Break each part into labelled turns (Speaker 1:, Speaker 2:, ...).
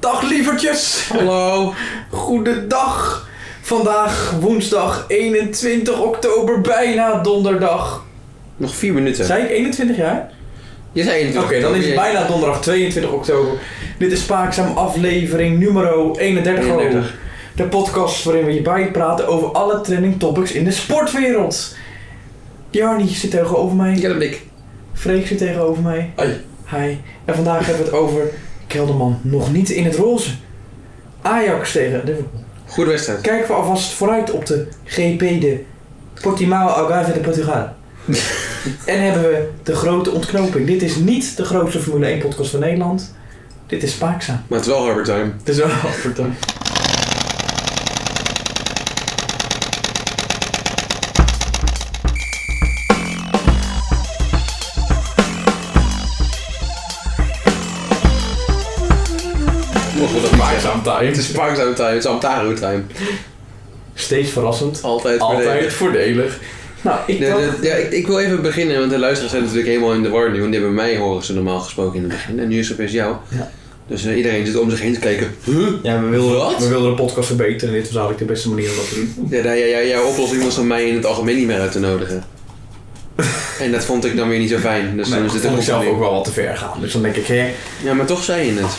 Speaker 1: Dag lievertjes! Hallo! Goedendag! Vandaag woensdag 21 oktober, bijna donderdag.
Speaker 2: Nog vier minuten.
Speaker 1: Zijn ik 21 jaar?
Speaker 2: Je zei 21
Speaker 1: Oké, dan is het
Speaker 2: oktober.
Speaker 1: bijna donderdag 22 oktober. Dit is Spaakzaam aflevering nummer 31.
Speaker 2: 31.
Speaker 1: De podcast waarin we je bijpraten over alle trending topics in de sportwereld. Jarni zit tegenover
Speaker 2: Ik
Speaker 1: mij.
Speaker 2: heb een blik.
Speaker 1: Freek zit tegenover mij.
Speaker 2: Hoi.
Speaker 1: Hi. En vandaag hebben we het over Kelderman nog niet in het roze. Ajax tegen Liverpool.
Speaker 2: Goede wedstrijd.
Speaker 1: Kijken we alvast vooruit op de GP de Portimao Algarve de Portugal. en hebben we de grote ontknoping. Dit is niet de grootste Formule 1 podcast van Nederland. Dit is spaakzaam.
Speaker 2: Maar het is wel Herbert Time.
Speaker 1: Het is wel vertoon.
Speaker 2: Mocht we dat niet zeggen. Het is Parkzone Time. Het is Amtaro Time.
Speaker 1: Steeds verrassend.
Speaker 2: Altijd.
Speaker 1: Altijd
Speaker 2: beneden.
Speaker 1: voordelig. Nou, ik
Speaker 2: Nee,
Speaker 1: dacht...
Speaker 2: dat- ja, ik, ik wil even beginnen, want de luisteraars zijn natuurlijk helemaal in de war nu. Want die hebben mij horen ze normaal gesproken in het begin. En nu is het opeens jou.
Speaker 1: Ja.
Speaker 2: Dus eh, iedereen zit om zich heen te kijken. Huh?
Speaker 1: Ja, we
Speaker 2: Wat?
Speaker 1: wilden, we wilden de podcast verbeteren en dit was eigenlijk de beste manier om dat te doen.
Speaker 2: Ja, daar- ja, ja, jouw oplossing was om mij in het algemeen niet meer uit te nodigen. en dat vond ik dan weer niet zo fijn. Dus
Speaker 1: Maar
Speaker 2: dan
Speaker 1: ik
Speaker 2: is dit
Speaker 1: vond
Speaker 2: een
Speaker 1: ik zelf ook
Speaker 2: oplossing.
Speaker 1: wel wat te ver gaan. Dus dan denk ik, hé,
Speaker 2: Ja, maar toch zei je het.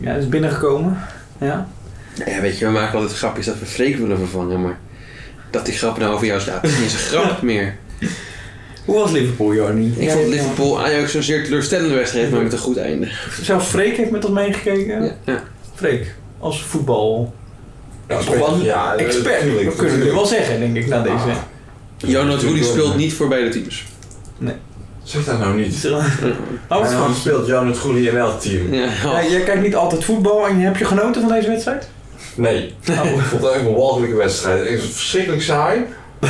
Speaker 1: ja, dat is binnengekomen. Ja.
Speaker 2: Nou Ja, weet je, we maken altijd grapjes dat we Freek willen vervangen, maar dat die grap nou over jou staat, is niet eens een grap meer.
Speaker 1: Hoe was Liverpool, Jarni?
Speaker 2: Ik vond Liverpool Ajax een zeer teleurstellende wedstrijd, maar met een goed einde.
Speaker 1: Zelfs Freek heeft met ons meegekeken.
Speaker 2: Ja. Ja.
Speaker 1: Freek, als voetbal
Speaker 3: Ja,
Speaker 1: Toch wel een
Speaker 3: ja,
Speaker 1: expert.
Speaker 3: natuurlijk,
Speaker 1: dat kunnen we nu
Speaker 3: natuurlijk.
Speaker 1: wel zeggen, denk ik, na deze.
Speaker 3: Ah,
Speaker 2: Jonas Woody speelt niet voor beide teams.
Speaker 3: Zeg dat nou niet.
Speaker 1: Oh,
Speaker 3: en dan speelt Jan het goede in elk team.
Speaker 2: Ja, oh.
Speaker 1: Ja, jij kijkt niet altijd voetbal en heb je genoten van deze wedstrijd?
Speaker 3: Nee,
Speaker 2: Nou,
Speaker 3: ik
Speaker 1: Oh.
Speaker 3: vond het echt een walgelijke wedstrijd. Het is verschrikkelijk saai.
Speaker 2: en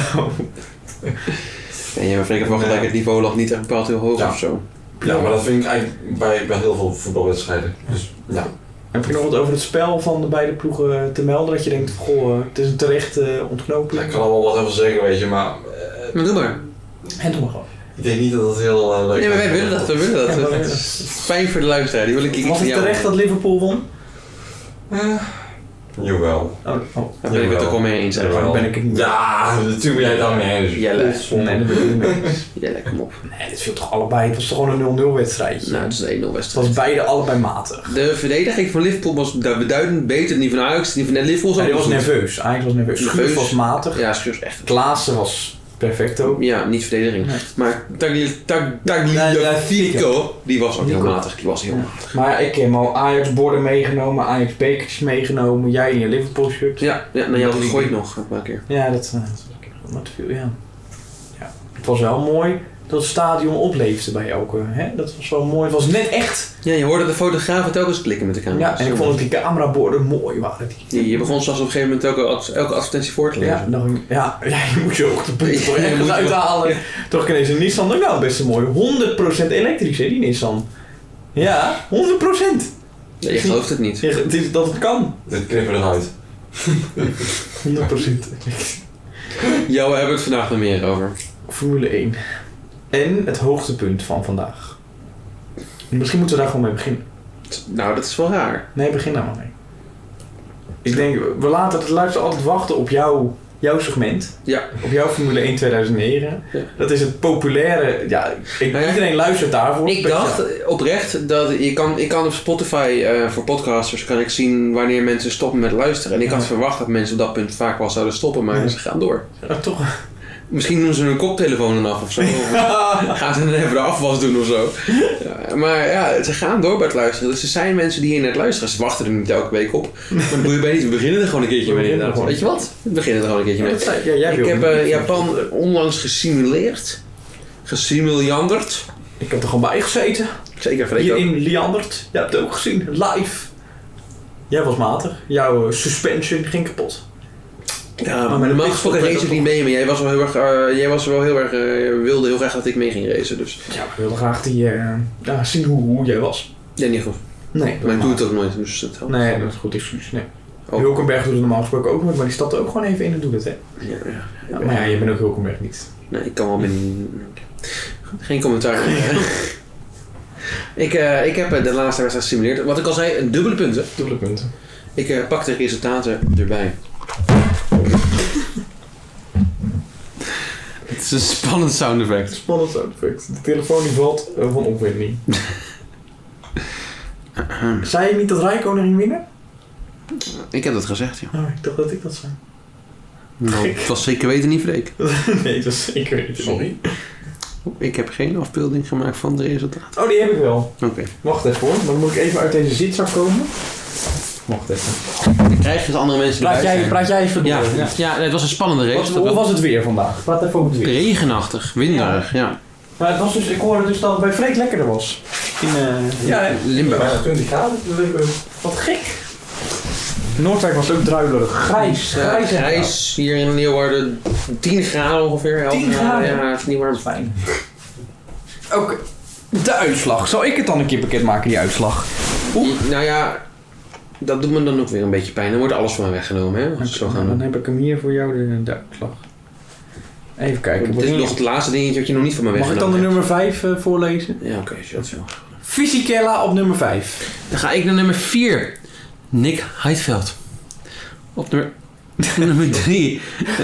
Speaker 2: jij maar Freek heeft wel gelijk, het niveau lag niet echt bepaald heel hoog
Speaker 3: Ja.
Speaker 2: of zo.
Speaker 3: Ja, maar dat vind ik eigenlijk bij, bij heel veel voetbalwedstrijden. Dus ja.
Speaker 1: Heb je nog wat over het spel van de beide ploegen te melden? Dat je denkt, goh, eh, het is een terecht eh, ontknoping.
Speaker 3: ja, ik kan er wel wat over zeggen, weet je, maar eh,
Speaker 2: Maar doe maar.
Speaker 1: En doe maar gewoon.
Speaker 3: ik denk niet dat het heel eh, leuk
Speaker 2: Nee, maar wij
Speaker 3: gaat
Speaker 2: willen
Speaker 3: worden.
Speaker 2: dat, we willen
Speaker 1: Ja,
Speaker 2: dat.
Speaker 1: maar-
Speaker 2: Het is fijn voor de luisteraar, die wil ik
Speaker 1: Was
Speaker 2: iets van
Speaker 1: het
Speaker 2: jou.
Speaker 1: terecht dat Liverpool won?
Speaker 3: Jawel.
Speaker 1: Oh, oh.
Speaker 2: Daar ben ik het ook wel mee eens.
Speaker 3: Jawel.
Speaker 1: daar ben ik het niet.
Speaker 3: Ja, natuurlijk ben jij daar mee eens.
Speaker 2: Ja, leuk.
Speaker 1: Nee, dat ben ik niet mee eens.
Speaker 2: Ja, lekker kom op.
Speaker 1: Nee, dit viel toch allebei. Het was toch gewoon een 0-0 wedstrijdje.
Speaker 2: Nou, het is een 1-0
Speaker 1: Het
Speaker 2: wedstrijd.
Speaker 1: was beide allebei matig.
Speaker 2: De verdediging van Liverpool was beduidend beter dan die van Ajax. Die van Liverpool
Speaker 1: Hij
Speaker 2: ook
Speaker 1: was
Speaker 2: goed.
Speaker 1: nerveus. Ajax was nerveus.
Speaker 2: Nerveus.
Speaker 1: Schuurs was matig.
Speaker 2: Ja, Schuurs echt.
Speaker 1: Klaassen was perfecto.
Speaker 2: Ja, niet verdediging.
Speaker 1: Nee.
Speaker 2: Maar Tagli- Tag-
Speaker 1: Nee, nee,
Speaker 2: Tagliafico, die was ook heel
Speaker 1: Nico.
Speaker 2: matig. Die was heel
Speaker 1: Ja.
Speaker 2: matig.
Speaker 1: Maar ik heb al Ajax-borden meegenomen, Ajax-bekers meegenomen, jij in je Liverpool-shirt.
Speaker 2: Ja, ja nou, je had het gegooid nog een paar keer.
Speaker 1: Ja, dat, eh, dat was een keer wat te veel, ja. ja. Het was wel mooi dat het stadion opleefde bij elke. Hè? Dat was wel mooi. Het was net echt.
Speaker 2: Ja, je hoorde de fotografen telkens klikken met de camera.
Speaker 1: Ja, en ik vond dat die cameraborden mooi waren. Die,
Speaker 2: Die- Je begon zelfs op een gegeven moment elke, ad- elke advertentie voor te
Speaker 1: ja,
Speaker 2: lezen.
Speaker 1: dan, ja, ja, je moet je ook de punten
Speaker 2: Ja,
Speaker 1: voor
Speaker 2: je moet
Speaker 1: ergens
Speaker 2: je-
Speaker 1: uithalen. Toch ineens een Nissan, dacht ik, nou best een mooi. 100% elektrisch hè, die Nissan. Ja, 100%.
Speaker 2: Nee, je gelooft het niet.
Speaker 1: Ja, het is dat het kan.
Speaker 3: Dit knippen we eruit.
Speaker 1: 100%.
Speaker 2: Ja, we hebben het vandaag nog meer over.
Speaker 1: Formule 1. En het hoogtepunt van vandaag. Misschien moeten we daar gewoon mee beginnen.
Speaker 2: Nou, dat is wel raar.
Speaker 1: Nee, begin daar maar mee. Ik denk, we laten het luisteren altijd wachten op jouw, jouw segment.
Speaker 2: Ja.
Speaker 1: Op jouw Formule 1 2009.
Speaker 2: Ja.
Speaker 1: Dat is het populaire. Ja, ik,
Speaker 2: Nou ja,
Speaker 1: iedereen luistert daarvoor.
Speaker 2: Ik dacht oprecht dat je kan, ik kan op Spotify eh, voor podcasters kan ik zien wanneer mensen stoppen met luisteren. En ik
Speaker 1: Ja.
Speaker 2: had verwacht dat mensen op dat punt vaak wel zouden stoppen, maar
Speaker 1: Ja.
Speaker 2: ze gaan door.
Speaker 1: Ja, toch.
Speaker 2: Misschien doen ze hun koptelefoon dan af of zo. Gaan ze dan even de afwas doen of zo. Ja, maar ja, ze gaan door bij het luisteren. Dus er zijn mensen die hier net luisteren. Ze wachten er niet elke week op. Maar dat moet je bij niet. We beginnen er gewoon een keertje
Speaker 1: We
Speaker 2: mee
Speaker 1: beginnen
Speaker 2: inderdaad.
Speaker 1: gewoon.
Speaker 2: Weet je wat? We beginnen er gewoon een keertje
Speaker 1: Ja, dat
Speaker 2: mee.
Speaker 1: zei- ja, jij
Speaker 2: Ik
Speaker 1: wil
Speaker 2: heb
Speaker 1: niet.
Speaker 2: eh, Japan onlangs gesimuleerd. Gesimiljanderd.
Speaker 1: Ik heb er gewoon bij gezeten.
Speaker 2: Zeker, Freek
Speaker 1: Hier
Speaker 2: ook.
Speaker 1: in Liandert. Jij hebt het ook gezien. Live. Jij was matig. Jouw eh, suspension ging kapot.
Speaker 2: Ja,
Speaker 1: maar
Speaker 2: maar
Speaker 1: met
Speaker 2: normaal
Speaker 1: een
Speaker 2: gesproken
Speaker 1: pitstop
Speaker 2: race ik
Speaker 1: ben
Speaker 2: niet mee. Maar jij was wel heel erg, eh, jij was wel heel erg eh, wilde heel graag dat ik mee ging racen. Dus
Speaker 1: Ja, we wilden graag die, eh, ja, zien hoe, hoe jij was.
Speaker 2: ja, niet goed.
Speaker 1: Nee,
Speaker 2: Maar ik doe het ook nooit. Dus dat helpt.
Speaker 1: Nee, dat is goed excuus. Nee.
Speaker 2: Oh.
Speaker 1: Hulkenberg doet het normaal gesproken ook nooit, maar die stapte ook gewoon even in en doet het, hè?
Speaker 2: Ja, ja.
Speaker 1: Ja, maar ja, je bent ook Hulkenberg niet.
Speaker 2: Nee, ik kan wel binnen. Geen commentaar. Ik, eh, ik heb eh, de laatste wedstrijd gesimuleerd. Wat ik al zei, een dubbele punten.
Speaker 1: Dubbele punten.
Speaker 2: Ik eh, pak de resultaten erbij. Het is een spannend sound effect.
Speaker 1: Spannend sound effect. De telefoon die valt eh, van opwinding. Zei je niet dat Rijkonen ging winnen?
Speaker 2: Ehm, Ik heb dat gezegd, ja.
Speaker 1: Oh, ik dacht dat ik dat zei.
Speaker 2: Nou, het was zeker weten niet Freek.
Speaker 1: nee, dat is zeker niet.
Speaker 3: Sorry.
Speaker 2: Ik heb geen afbeelding gemaakt van de resultaten.
Speaker 1: Oh, die heb ik wel.
Speaker 2: Oké.
Speaker 1: Wacht even hoor, dan moet ik even uit deze zitzak komen. Wacht even.
Speaker 2: Ik krijg dat andere mensen
Speaker 1: Praat
Speaker 2: erbij
Speaker 1: jij, praat jij even door.
Speaker 2: Ja, ja. nee, het was een spannende race.
Speaker 1: Wat,
Speaker 2: dat
Speaker 1: hoe
Speaker 2: wel.
Speaker 1: was het weer vandaag? Praat even over het weer.
Speaker 2: Regenachtig, winderig, ja.
Speaker 1: Maar het was dus, ik hoorde dus dat het bij Freek lekkerder was. In, eh,
Speaker 2: Limburg.
Speaker 3: Bijna 20 graden.
Speaker 1: Wat gek. Noordwijk was ook druilerig. Grijs.
Speaker 2: Ja,
Speaker 1: Grijs. en
Speaker 2: eh, grijs hier in Leeuwarden 10 graden ongeveer. 11
Speaker 1: 10 graden?
Speaker 2: Ja, het is niet warm.
Speaker 1: Fijn. Oké, de uitslag. Zal ik het dan een keer pakket maken, die uitslag?
Speaker 2: Nou ja, dat doet me dan ook weer een beetje pijn. Dan wordt alles van me weggenomen, hè? Als het zo gaan.
Speaker 1: dan heb ik hem hier voor jou, de, de uitslag. Even kijken.
Speaker 2: Het is
Speaker 1: begin-
Speaker 2: nog het laatste dingetje wat je nog niet van me
Speaker 1: Mag ik
Speaker 2: weggenomen
Speaker 1: dan de nummer 5 voorlezen?
Speaker 2: hebt. Ja, oké, shit, zo.
Speaker 1: Fisichella op nummer 5.
Speaker 2: Dan ga ik naar nummer 4. Nick Heidveld. Op nummer... nummer 3.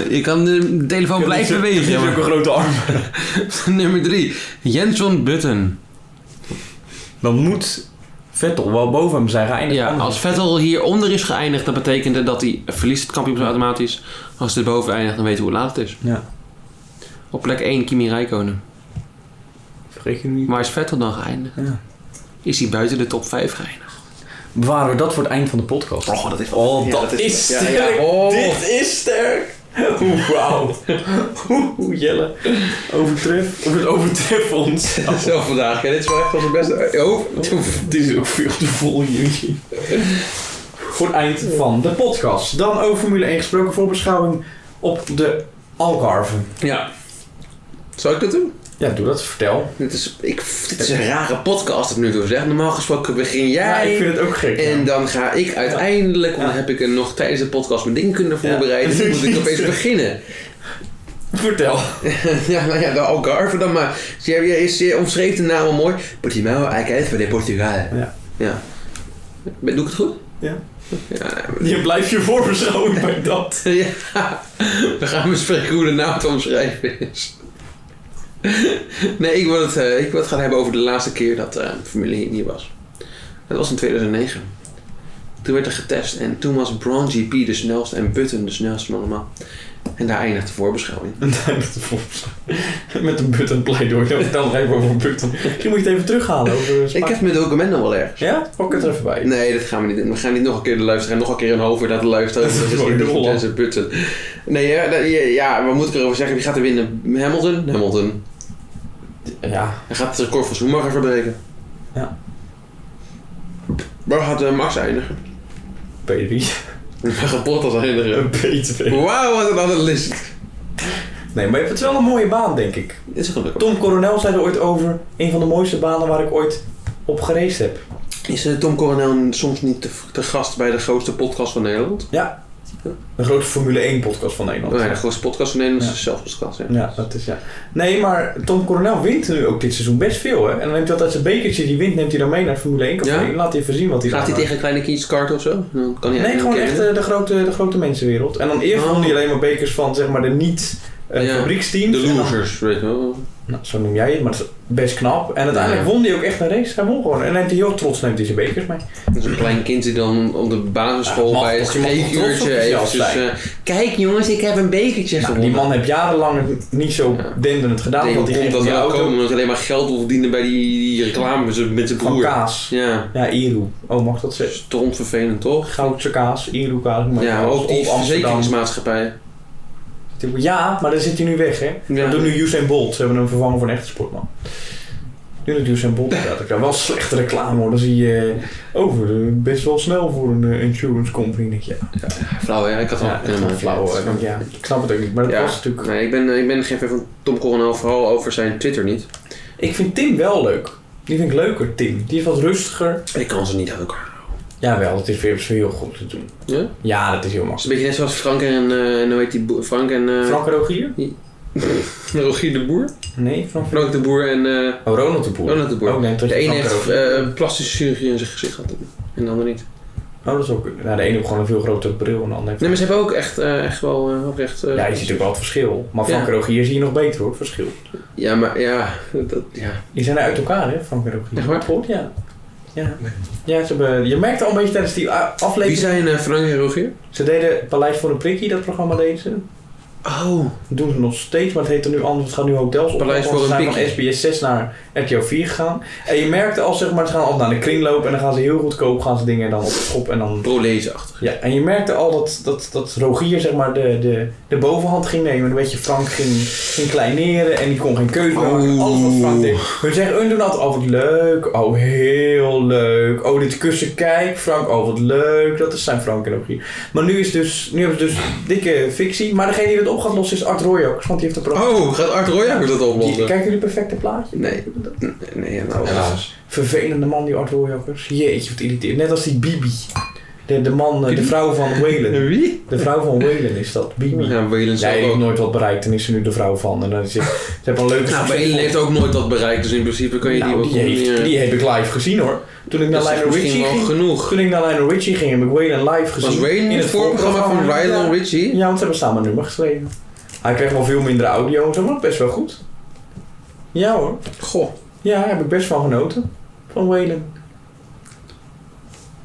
Speaker 2: Je kan de telefoon blijven bewegen. jongen.
Speaker 1: grote arm.
Speaker 2: nummer 3. Jenson Button.
Speaker 1: Dan moet Vettel wel boven hem zijn geëindigd.
Speaker 2: Ja,
Speaker 1: Anders-
Speaker 2: als Vettel hieronder is geëindigd, dan betekent het dat hij verliest het kampioenschap automatisch. Als hij boven eindigt, dan weten we hoe laat het is.
Speaker 1: Ja.
Speaker 2: Op plek 1 Kimi Räikkönen.
Speaker 1: Vergeet je hem niet.
Speaker 2: Waar is Vettel dan geëindigd?
Speaker 1: Ja.
Speaker 2: Is hij buiten de top 5 geëindigd?
Speaker 1: Bewaren we dat voor het eind van de podcast.
Speaker 2: Oh, dat is
Speaker 1: Oh,
Speaker 2: Ja,
Speaker 1: dat,
Speaker 2: dat is-
Speaker 1: is
Speaker 2: ja, ja.
Speaker 1: sterk.
Speaker 2: Oh.
Speaker 1: Dit is sterk. Oeh, Wauw. Oeh, Jelle. Overtref. Of het overtreft ons.
Speaker 2: Zo vandaag, ja, dit is wel echt onze beste. Oh,
Speaker 1: Dit is ook veel te vol, jullie. Voor het eind van de podcast. Dan over Formule 1 gesproken voorbeschouwing op de Algarve.
Speaker 2: ja. Zal ik dat doen?
Speaker 1: Ja, doe dat. Vertel.
Speaker 2: Dit is, ik, dit is een rare podcast tot nu toe. Zeg. Normaal gesproken begin jij.
Speaker 1: Ja, ik vind het ook gek.
Speaker 2: En dan ga ik uiteindelijk, want
Speaker 1: Ja.
Speaker 2: dan heb ik er nog tijdens de podcast mijn dingen kunnen
Speaker 1: Ja.
Speaker 2: voorbereiden. Dan moet ik opeens beginnen.
Speaker 1: Vertel.
Speaker 2: Ja, nou ja, de Algarve dan maar. Ze, hebben- je, je omschreef de naam al mooi. Portimao, eigenlijk van de Portugal.
Speaker 1: Ja.
Speaker 2: ja. Ben- Doe ik het goed?
Speaker 1: Ja.
Speaker 2: Ja,
Speaker 1: Je blijft je voorbeschouwing bij dat.
Speaker 2: ja. We gaan bespreken hoe de naam te omschrijven is. Nee, ik wil, het, eh, ik wil het gaan hebben over de laatste keer dat eh familie hier niet was. Dat was in 2009. Toen werd er getest en toen was Brown GP de snelste en Button de snelste van allemaal. En daar eindigt de voorbeschouwing.
Speaker 1: En daar is de voorbeschouwing. Met een button pleidooi. Dan vertel even over een button. Misschien moet je het even terughalen. Over
Speaker 2: Ik heb mijn document nog wel erg.
Speaker 1: Ja? Pak het er even bij.
Speaker 2: Nee, dat gaan we niet doen. We gaan niet nog een keer de luisteraar, nog een keer een half uur naar de luisteraar.
Speaker 1: Dat is
Speaker 2: Dat is
Speaker 1: gewoon
Speaker 2: niet
Speaker 1: dubbel.
Speaker 2: goed en ze putten. Nee, ja, dat- ja, ja, wat moet ik erover zeggen? Wie gaat er winnen? Hamilton? Hamilton.
Speaker 1: Ja.
Speaker 2: Hij gaat het record van Schumacher verbreken.
Speaker 1: Ja.
Speaker 2: Waar gaat eh, Max eindigen?
Speaker 1: P3.
Speaker 2: Waar gaat Bottas eindigen?
Speaker 1: P2.
Speaker 2: Wauw, wat een analist.
Speaker 1: Nee, maar het is wel een mooie baan, denk ik.
Speaker 2: Dit is gelukkig.
Speaker 1: Tom Coronel zei er ooit over. Een van de mooiste banen waar ik ooit op gereisd heb.
Speaker 2: Is eh, Tom Coronel soms niet te, te gast bij de grootste podcast van Nederland?
Speaker 1: De grootste Formule 1 podcast van Nederland.
Speaker 2: Oh, ja, de grootste podcast van Nederland
Speaker 1: Ja.
Speaker 2: is zelfs podcast. Ja.
Speaker 1: Ja, dat is ja. Nee, maar Tom Coronel wint nu ook dit seizoen best veel, hè? En dan neemt hij altijd zijn bekertje, die wint, neemt hij dan mee naar het Formule 1 café.
Speaker 2: Ja?
Speaker 1: En laat hij even zien wat hij
Speaker 2: Gaat hij
Speaker 1: aanmaakt.
Speaker 2: tegen kleine kindjes karten of zo? Dan kan hij
Speaker 1: Nee, gewoon
Speaker 2: oké,
Speaker 1: echt eh, de grote, de grote mensenwereld. En dan eerst
Speaker 2: Oh.
Speaker 1: won hij alleen maar bekers van zeg maar de niet eh,
Speaker 2: Ja.
Speaker 1: fabrieksteams.
Speaker 2: De
Speaker 1: En dan-
Speaker 2: losers, weet je wel.
Speaker 1: nou, zo noem jij het, maar dat is best knap. En uiteindelijk
Speaker 2: Ja.
Speaker 1: won hij ook echt een race. Hij won gewoon. En neemt hij heel trots neemt hij zijn bekers mee.
Speaker 2: Dus een klein kind die dan op de basisschool
Speaker 1: Ja, mag
Speaker 2: bij het
Speaker 1: toch, je mag toch trots op
Speaker 2: spreekuurtje
Speaker 1: jezelf
Speaker 2: eventjes...
Speaker 1: zijn?
Speaker 2: eh, Kijk jongens, ik heb een bekertje
Speaker 1: Nou, die
Speaker 2: gewonnen.
Speaker 1: man heeft jarenlang het niet zo
Speaker 2: Ja.
Speaker 1: denderend gedaan.
Speaker 2: Nee,
Speaker 1: want
Speaker 2: hoe
Speaker 1: die ging
Speaker 2: komt dat
Speaker 1: dat die
Speaker 2: wel
Speaker 1: auto
Speaker 2: komen? Omdat hij alleen maar geld wil verdienen bij die, die reclame met zijn- met zijn
Speaker 1: van
Speaker 2: broer.
Speaker 1: kaas.
Speaker 2: Ja,
Speaker 1: Ja, Iru. Oh, mag dat zeggen?
Speaker 2: stront vervelend toch?
Speaker 1: Goudse kaas, Iru kaas. noem maar
Speaker 2: Ja, maar
Speaker 1: kaas.
Speaker 2: ook die
Speaker 1: Old Amsterdam.
Speaker 2: verzekeringsmaatschappij.
Speaker 1: Ja, maar dan zit hij nu weg, hè?
Speaker 2: Ja.
Speaker 1: Dat doet nu Usain Bolt. Ze hebben hem vervangen voor een echte sportman. Nu doet Usain Bolt dat. Ik daar wel slechte reclame hoor. Dan zie je eh, over eh, best wel snel voor een eh, insurance company. Dan Denk je, ja,
Speaker 2: Flauw hè, ik had
Speaker 1: ja,
Speaker 2: wel
Speaker 1: echt wel flauw. hoor. Ik denk, Ja, ik snap het ook niet. Maar dat
Speaker 2: Ja.
Speaker 1: was natuurlijk...
Speaker 2: Nee, ik ben, eh, ik ben geen fan van Tom Coronel, vooral over zijn Twitter niet.
Speaker 1: Ik vind Tim wel leuk. Die vind ik leuker, Tim. Die is wat rustiger.
Speaker 2: Ik kan ze niet uit elkaar.
Speaker 1: Jawel, het is weer heel goed te doen.
Speaker 2: Ja?
Speaker 1: Ja, dat is heel
Speaker 2: Het is
Speaker 1: makkelijk.
Speaker 2: een beetje net zoals Frank en, eh, en hoe heet die, boer- Frank en... eh,
Speaker 1: Frank en Rogier?
Speaker 2: Rogier de Boer.
Speaker 1: Nee, van...
Speaker 2: Frank de Boer en eh
Speaker 3: Oh, Ronald de Boer.
Speaker 2: Ronald de Boer.
Speaker 1: Ook nee, tot
Speaker 2: de
Speaker 1: je
Speaker 2: ene
Speaker 1: Frank
Speaker 2: heeft
Speaker 1: Rogier.
Speaker 2: eh plastische chirurgie in zijn gezicht gehad en de ander niet.
Speaker 1: Oh, dat is ook... Nou, de ene heeft gewoon een veel grotere bril en de ander heeft...
Speaker 2: Nee, maar ze hebben ook echt, eh, echt wel eh, oprecht... eh,
Speaker 1: Ja, je ziet ook wel het verschil. Maar Frank
Speaker 2: Ja.
Speaker 1: Rogier zie je nog beter hoor, het verschil.
Speaker 2: Ja, maar ja, dat, ja.
Speaker 1: Die zijn uit elkaar, hè, Frank en Rogier.
Speaker 2: Echt waar?
Speaker 1: Klopt, ja. Ja. ja ze hebben, je merkte al een beetje tijdens die a-
Speaker 2: Wie
Speaker 1: aflevering.
Speaker 2: zijn eh, Frank en Rogier?
Speaker 1: Ze deden Paleis voor een Prikkie, dat programma deden ze.
Speaker 2: Oh,
Speaker 1: Dat doen ze nog steeds, maar het heet er nu anders. Het gaat nu hotels op.
Speaker 2: Paleis voor
Speaker 1: ze
Speaker 2: een
Speaker 1: zijn van SBS 6 naar RTO 4 gegaan. En je merkte al, zeg maar, ze gaan altijd naar de kringloop en dan gaan ze heel goedkoop gaan ze dingen dan op de schop en dan...
Speaker 2: prolezenachtig.
Speaker 1: Ja, en je merkte al dat, dat, dat Rogier zeg maar de, de, de bovenhand ging nemen. En Een beetje Frank ging, ging kleineren en die kon geen keuze meer maken.
Speaker 2: Oeh.
Speaker 1: Alles wat Frank deed. Hun zeggen, hun doen altijd, oh wat leuk, oh heel leuk. Oh dit kussen, kijk Frank, oh wat leuk. Dat is zijn Frank en Rogier. Maar nu, is dus, nu hebben ze dus dikke fictie. Maar degene die dat op gaat lossen is Art Royax, want die heeft een programma.
Speaker 2: Oh, gaat Art Royakkers dat
Speaker 1: Die,
Speaker 2: oplossen?
Speaker 1: kijken jullie perfecte plaatje?
Speaker 2: Nee. Nee, nou,
Speaker 3: Helaas.
Speaker 1: Vervelende man die Art Royakkers. Jeetje, wat irriteert. Net als die Bibi. De, de man, eh, de
Speaker 2: Bibi?
Speaker 1: vrouw van Whalen.
Speaker 2: Wie?
Speaker 1: De vrouw van Whalen is dat, Bibi.
Speaker 2: Ja, Welen
Speaker 1: Zij
Speaker 2: zelf
Speaker 1: heeft
Speaker 2: ook.
Speaker 1: nooit wat bereikt en is ze nu de vrouw van. En dan is ze, ze hebben een leuke
Speaker 2: Nou,
Speaker 1: succesvol-
Speaker 2: Welen heeft ook nooit dat bereikt, dus in principe kun je
Speaker 1: Nou,
Speaker 2: die ook eh,
Speaker 1: die, heeft, die heb ik live gezien hoor. Toen ik naar
Speaker 2: Dat is
Speaker 1: Lionel
Speaker 2: misschien
Speaker 1: Richie
Speaker 2: wel
Speaker 1: ging.
Speaker 2: genoeg.
Speaker 1: Toen ik naar Lionel Richie ging, heb ik Waylon live gezien.
Speaker 2: Was Wayne
Speaker 1: In
Speaker 2: niet het voorprogramma van
Speaker 1: voorprogramma.
Speaker 2: Lionel Richie?
Speaker 1: Ja, want ze hebben samen een nummer geschreven. Hij kreeg wel veel minder audio en zo, maar best wel goed. Ja hoor.
Speaker 2: Goh.
Speaker 1: Ja, daar heb ik best van genoten. Van Waylon.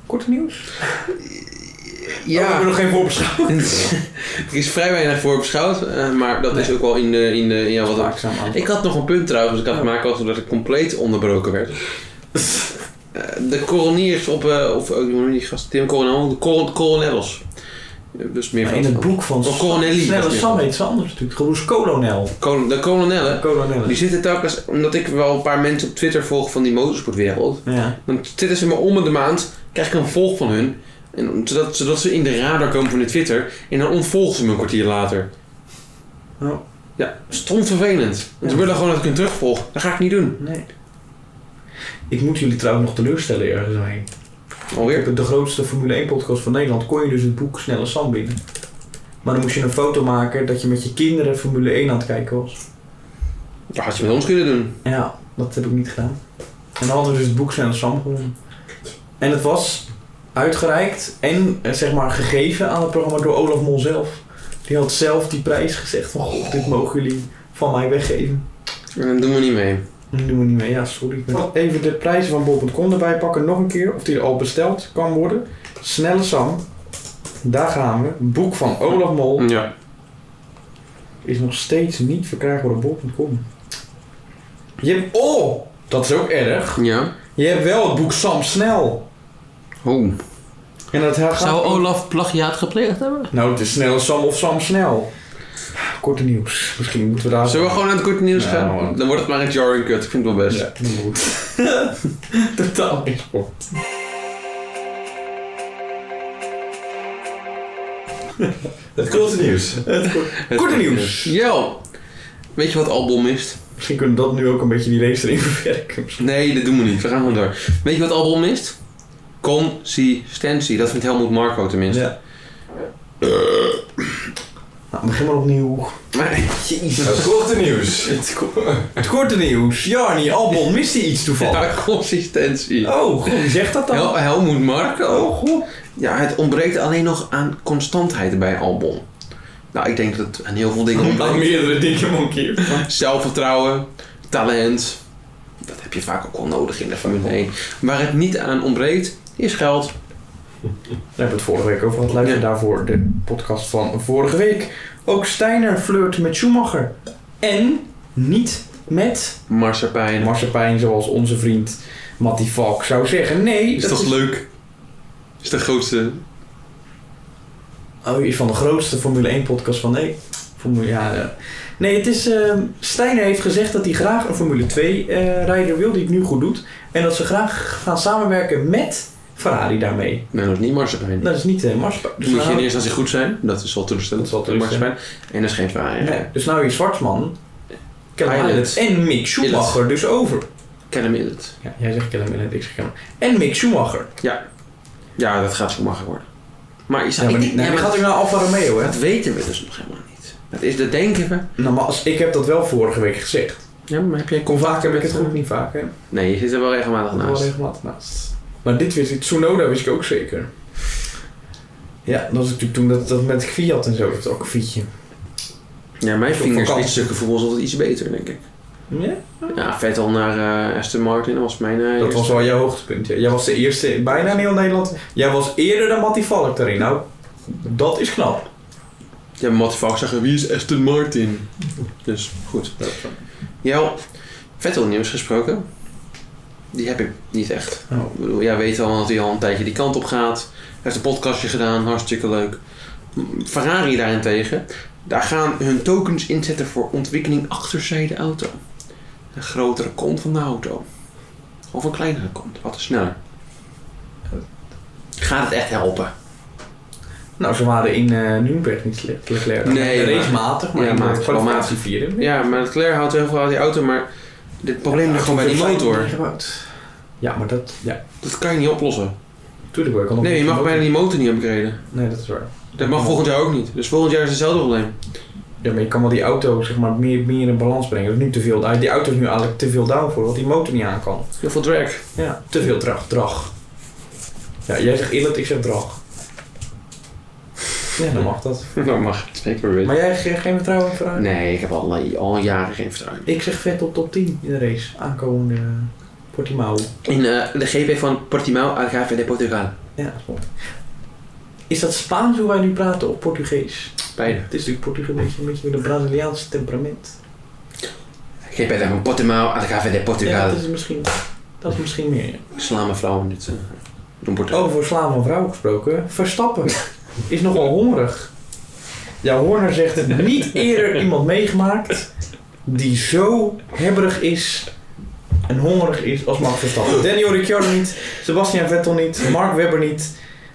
Speaker 1: Korte nieuws? Oh, we
Speaker 2: Ja.
Speaker 1: hebben nog geen voorbeschouwing.
Speaker 2: er is vrij weinig voor beschouwd, eh, maar dat is ook wel in de... In de ja, wat
Speaker 1: Waakzaam aan.
Speaker 2: ik had nog een punt trouwens, dat ik aan het
Speaker 1: Ja.
Speaker 2: maken was omdat ik compleet onderbroken werd. Eh, de koroniers op... eh, of, oh, die gast, Tim Coronel, de cor- coronels. Eh, Dus meer
Speaker 1: in het boek van
Speaker 2: Oh, Coronelli.
Speaker 1: Snelle Sam heet ze anders natuurlijk. Gewoon is kolonel.
Speaker 2: Kolon- De kolonellen,
Speaker 1: Kolonel.
Speaker 2: die zitten telkens... Omdat ik wel een paar mensen op Twitter volg van die motorsportwereld...
Speaker 1: Ja.
Speaker 2: Dan zitten ze maar om de maand, krijg ik een volg van hun. En, zodat, zodat ze in de radar komen van de Twitter. En dan ontvolgen ze me een kwartier later.
Speaker 1: Oh.
Speaker 2: Ja, stom vervelend. Want
Speaker 1: Ja.
Speaker 2: ze willen gewoon dat ik hun terugvolg. Dat ga ik niet doen.
Speaker 1: Nee. Ik moet jullie trouwens nog teleurstellen ergens heen.
Speaker 2: Alweer.
Speaker 1: Op de grootste Formule 1 podcast van Nederland kon je dus het boek Snelle Sam winnen. Maar dan moest je een foto maken dat je met je kinderen Formule 1 aan het kijken was.
Speaker 2: Dat had je met ons kunnen doen.
Speaker 1: Ja, dat heb ik niet gedaan. En dan hadden we dus het boek Snelle Sam gewonnen. En het was uitgereikt en eh, zeg maar gegeven aan het programma door Olaf Mol zelf. Die had zelf die prijs gezegd van god, dit mogen jullie van mij weggeven.
Speaker 2: En dan doen we niet mee.
Speaker 1: Dat doen we niet meer, ja, sorry. Mm. Ik ben- Even de prijzen van bol.com erbij pakken, nog een keer, of die al besteld kan worden. Snelle Sam, daar gaan we. Boek van Olaf Mol
Speaker 2: Ja.
Speaker 1: is nog steeds niet verkrijgbaar op bol.com. Je hebt, oh, dat is ook erg.
Speaker 2: Ja.
Speaker 1: Je hebt wel het boek Sam Snel.
Speaker 2: Oh.
Speaker 1: En dat gaat
Speaker 2: Olaf plagiaat gepleegd hebben?
Speaker 1: Nou, het is Snelle Sam of Sam Snel. Korte nieuws. Misschien moeten we daar...
Speaker 2: Zullen we gewoon naar het korte nieuws
Speaker 1: Ja,
Speaker 2: gaan?
Speaker 1: man.
Speaker 2: Dan wordt het maar een jarring cut. Ik vind het wel best.
Speaker 1: Ja, dat is goed. Totaal geen sport.
Speaker 3: Het grote nieuws.
Speaker 2: Het
Speaker 1: Korte nieuws.
Speaker 2: Jel. Weet je wat Albon mist?
Speaker 1: Misschien kunnen we dat nu ook een beetje die race erin verwerken.
Speaker 2: Nee, dat doen we niet. We gaan gewoon door. Weet je wat Albon mist? Consistentie. Dat vindt Helmut Marco tenminste.
Speaker 1: Ja. Eh. Nou, begin maar opnieuw.
Speaker 2: Maar,
Speaker 3: Het grote nieuws.
Speaker 1: Het korte nieuws. Jarni, Albon, mist hij iets toevallig?
Speaker 2: ja, consistentie.
Speaker 1: Oh, god, wie zegt dat
Speaker 2: Hel
Speaker 1: dan?
Speaker 2: Helmut Marco.
Speaker 1: Oh, god.
Speaker 2: Ja, het ontbreekt alleen nog aan constantheid bij Albon. Nou, ik denk dat het aan heel veel dingen
Speaker 1: Aan
Speaker 2: ontbreekt.
Speaker 1: meerdere dikke mankeert.
Speaker 2: Zelfvertrouwen, talent. Dat heb je vaak ook wel nodig in de Formule 1. Waar het niet aan ontbreekt, is geld.
Speaker 1: We hebben het vorige week over gehad. Luister
Speaker 2: Ja.
Speaker 1: daarvoor de podcast van vorige week. Ook Steiner flirt met Schumacher. En niet met
Speaker 2: Marsepein.
Speaker 1: Marsepijn, zoals onze vriend Matty Valk zou zeggen. Nee,
Speaker 2: Is
Speaker 1: dat
Speaker 2: toch
Speaker 1: is...
Speaker 2: leuk? Is de grootste.
Speaker 1: Oh, je is van de grootste Formule 1 podcast van nee. Formule, ja, ja. Nee, het is. ehm Steiner heeft gezegd dat hij graag een Formule 2 eh, rijder wil die het nu goed doet. En dat ze graag gaan samenwerken met Ferrari daarmee.
Speaker 2: Nee, dat is niet Marsepein.
Speaker 1: Dat is niet eh Mars. Dus,
Speaker 2: Dus moet je in
Speaker 1: nou,
Speaker 2: eerste instantie goed zijn, dat is wel teleurstellend.
Speaker 1: Dat is wel teleurstellend.
Speaker 2: Maar- En dat is geen Ferrari.
Speaker 1: nee, dus nou is Zwartsman, Callum Illet
Speaker 2: Illet.
Speaker 1: en Mick Schumacher dus over.
Speaker 2: Callum Illet.
Speaker 1: Ja, jij zegt Callum Illet, ik zeg Callum. En Mick Schumacher.
Speaker 2: Ja, dat gaat zo makkelijk worden. Maar je
Speaker 1: Ja, maar,
Speaker 2: ik-
Speaker 1: niet- nee,
Speaker 2: ja,
Speaker 1: die
Speaker 2: maar
Speaker 1: gaat ook naar Alfa Romeo, hè?
Speaker 2: dat weten we dus nog helemaal niet. Dat, is, dat denken we.
Speaker 1: Nou, maar als, ik heb dat wel vorige week gezegd.
Speaker 2: Ja, maar heb jij
Speaker 1: Hoe
Speaker 2: contact
Speaker 1: vaak heb ik
Speaker 2: met-
Speaker 1: het goed? Niet vaak, hè?
Speaker 2: Nee, je zit er wel regelmatig
Speaker 1: Wel
Speaker 2: naast.
Speaker 1: regelmatig naast. Maar dit wist ik, Tsunoda wist ik ook zeker. Ja, dat was natuurlijk toen dat, dat met Fiat en zo, dat is ook een fietje.
Speaker 2: Ja, mijn
Speaker 1: Op
Speaker 2: vingers
Speaker 1: vakantie.
Speaker 2: stukken voetbal is altijd iets beter, denk ik.
Speaker 1: Ja?
Speaker 2: Ja, Vettel naar eh, Aston Martin was mijn... eh,
Speaker 1: Dat was
Speaker 2: eerste-
Speaker 1: wel jouw hoogtepunt. ja. Jij was de eerste, bijna in heel Nederland. Jij was eerder dan Matty Valk daarin. Nou, dat is knap.
Speaker 2: Ja, maar Matty Valk zeggen, wie is Aston Martin? Dus, goed. Jou, Vettel nieuws gesproken. Die heb ik niet echt.
Speaker 1: Oh.
Speaker 2: Ik bedoel, jij weet al dat hij al een tijdje die kant op gaat. Hij heeft een podcastje gedaan, hartstikke leuk. M- Ferrari daarentegen, daar gaan hun tokens inzetten voor ontwikkeling achterzijde auto. Een grotere kont van de auto. Of een kleinere kont, wat is sneller. Gaat het echt helpen?
Speaker 1: Nou, ze waren in eh Nürnberg niet slecht. Leclerc.
Speaker 2: Nee, maar-
Speaker 1: race matig, maar
Speaker 2: ja,
Speaker 1: in de
Speaker 2: maar-
Speaker 1: kwalificatie vierde.
Speaker 2: Ja, maar Leclerc houdt heel veel uit die auto, maar dit probleem ligt gewoon bij die motor.
Speaker 1: Ja, maar dat... Ja,
Speaker 2: Dat kan je niet oplossen.
Speaker 1: tuurlijk wel. kan nog
Speaker 2: Nee, je
Speaker 1: een
Speaker 2: mag
Speaker 1: motor.
Speaker 2: bijna die motor niet upgraden.
Speaker 1: Nee, dat is waar.
Speaker 2: Dat mag volgend jaar ook niet. Dus volgend jaar is hetzelfde probleem.
Speaker 1: Ja, maar je kan wel die auto zeg maar, meer, meer in balans brengen. Dat is nu te veel, die auto is nu eigenlijk te veel down voor, want die motor niet aan kan.
Speaker 2: Heel veel drag.
Speaker 1: Ja, te veel drag. drag. Ja, jij zegt inlet, ik zeg drag. Ja, dan mag dat.
Speaker 2: Dat Nou, mag. Zeker weten.
Speaker 1: Maar jij geeft geen vertrouwen in Ferrari?
Speaker 2: Nee, ik heb al, eh, al jaren geen vertrouwen.
Speaker 1: Ik zeg vet op top 10 in de race. Aankomende Portimao.
Speaker 2: In eh, de GP van Portimao, Algarve de Portugal.
Speaker 1: Ja, is dat Spaans hoe wij nu praten of Portugees?
Speaker 2: Beide.
Speaker 1: Het is natuurlijk Portugees een beetje, een beetje met een Braziliaans temperament.
Speaker 2: GP van Portimao, Algarve de
Speaker 1: Ja,
Speaker 2: Portugal.
Speaker 1: dat is misschien, dat is misschien meer. ja.
Speaker 2: Sla mijn vrouw in dit. eh, doen Portugal.
Speaker 1: Over slaan van vrouwen gesproken. Verstappen is nogal hongerig. Ja, Horner zegt het niet eerder iemand meegemaakt die zo hebberig is en hongerig is als Max Verstappen. Daniel Ricciardo niet, Sebastian Vettel niet, Mark Webber niet.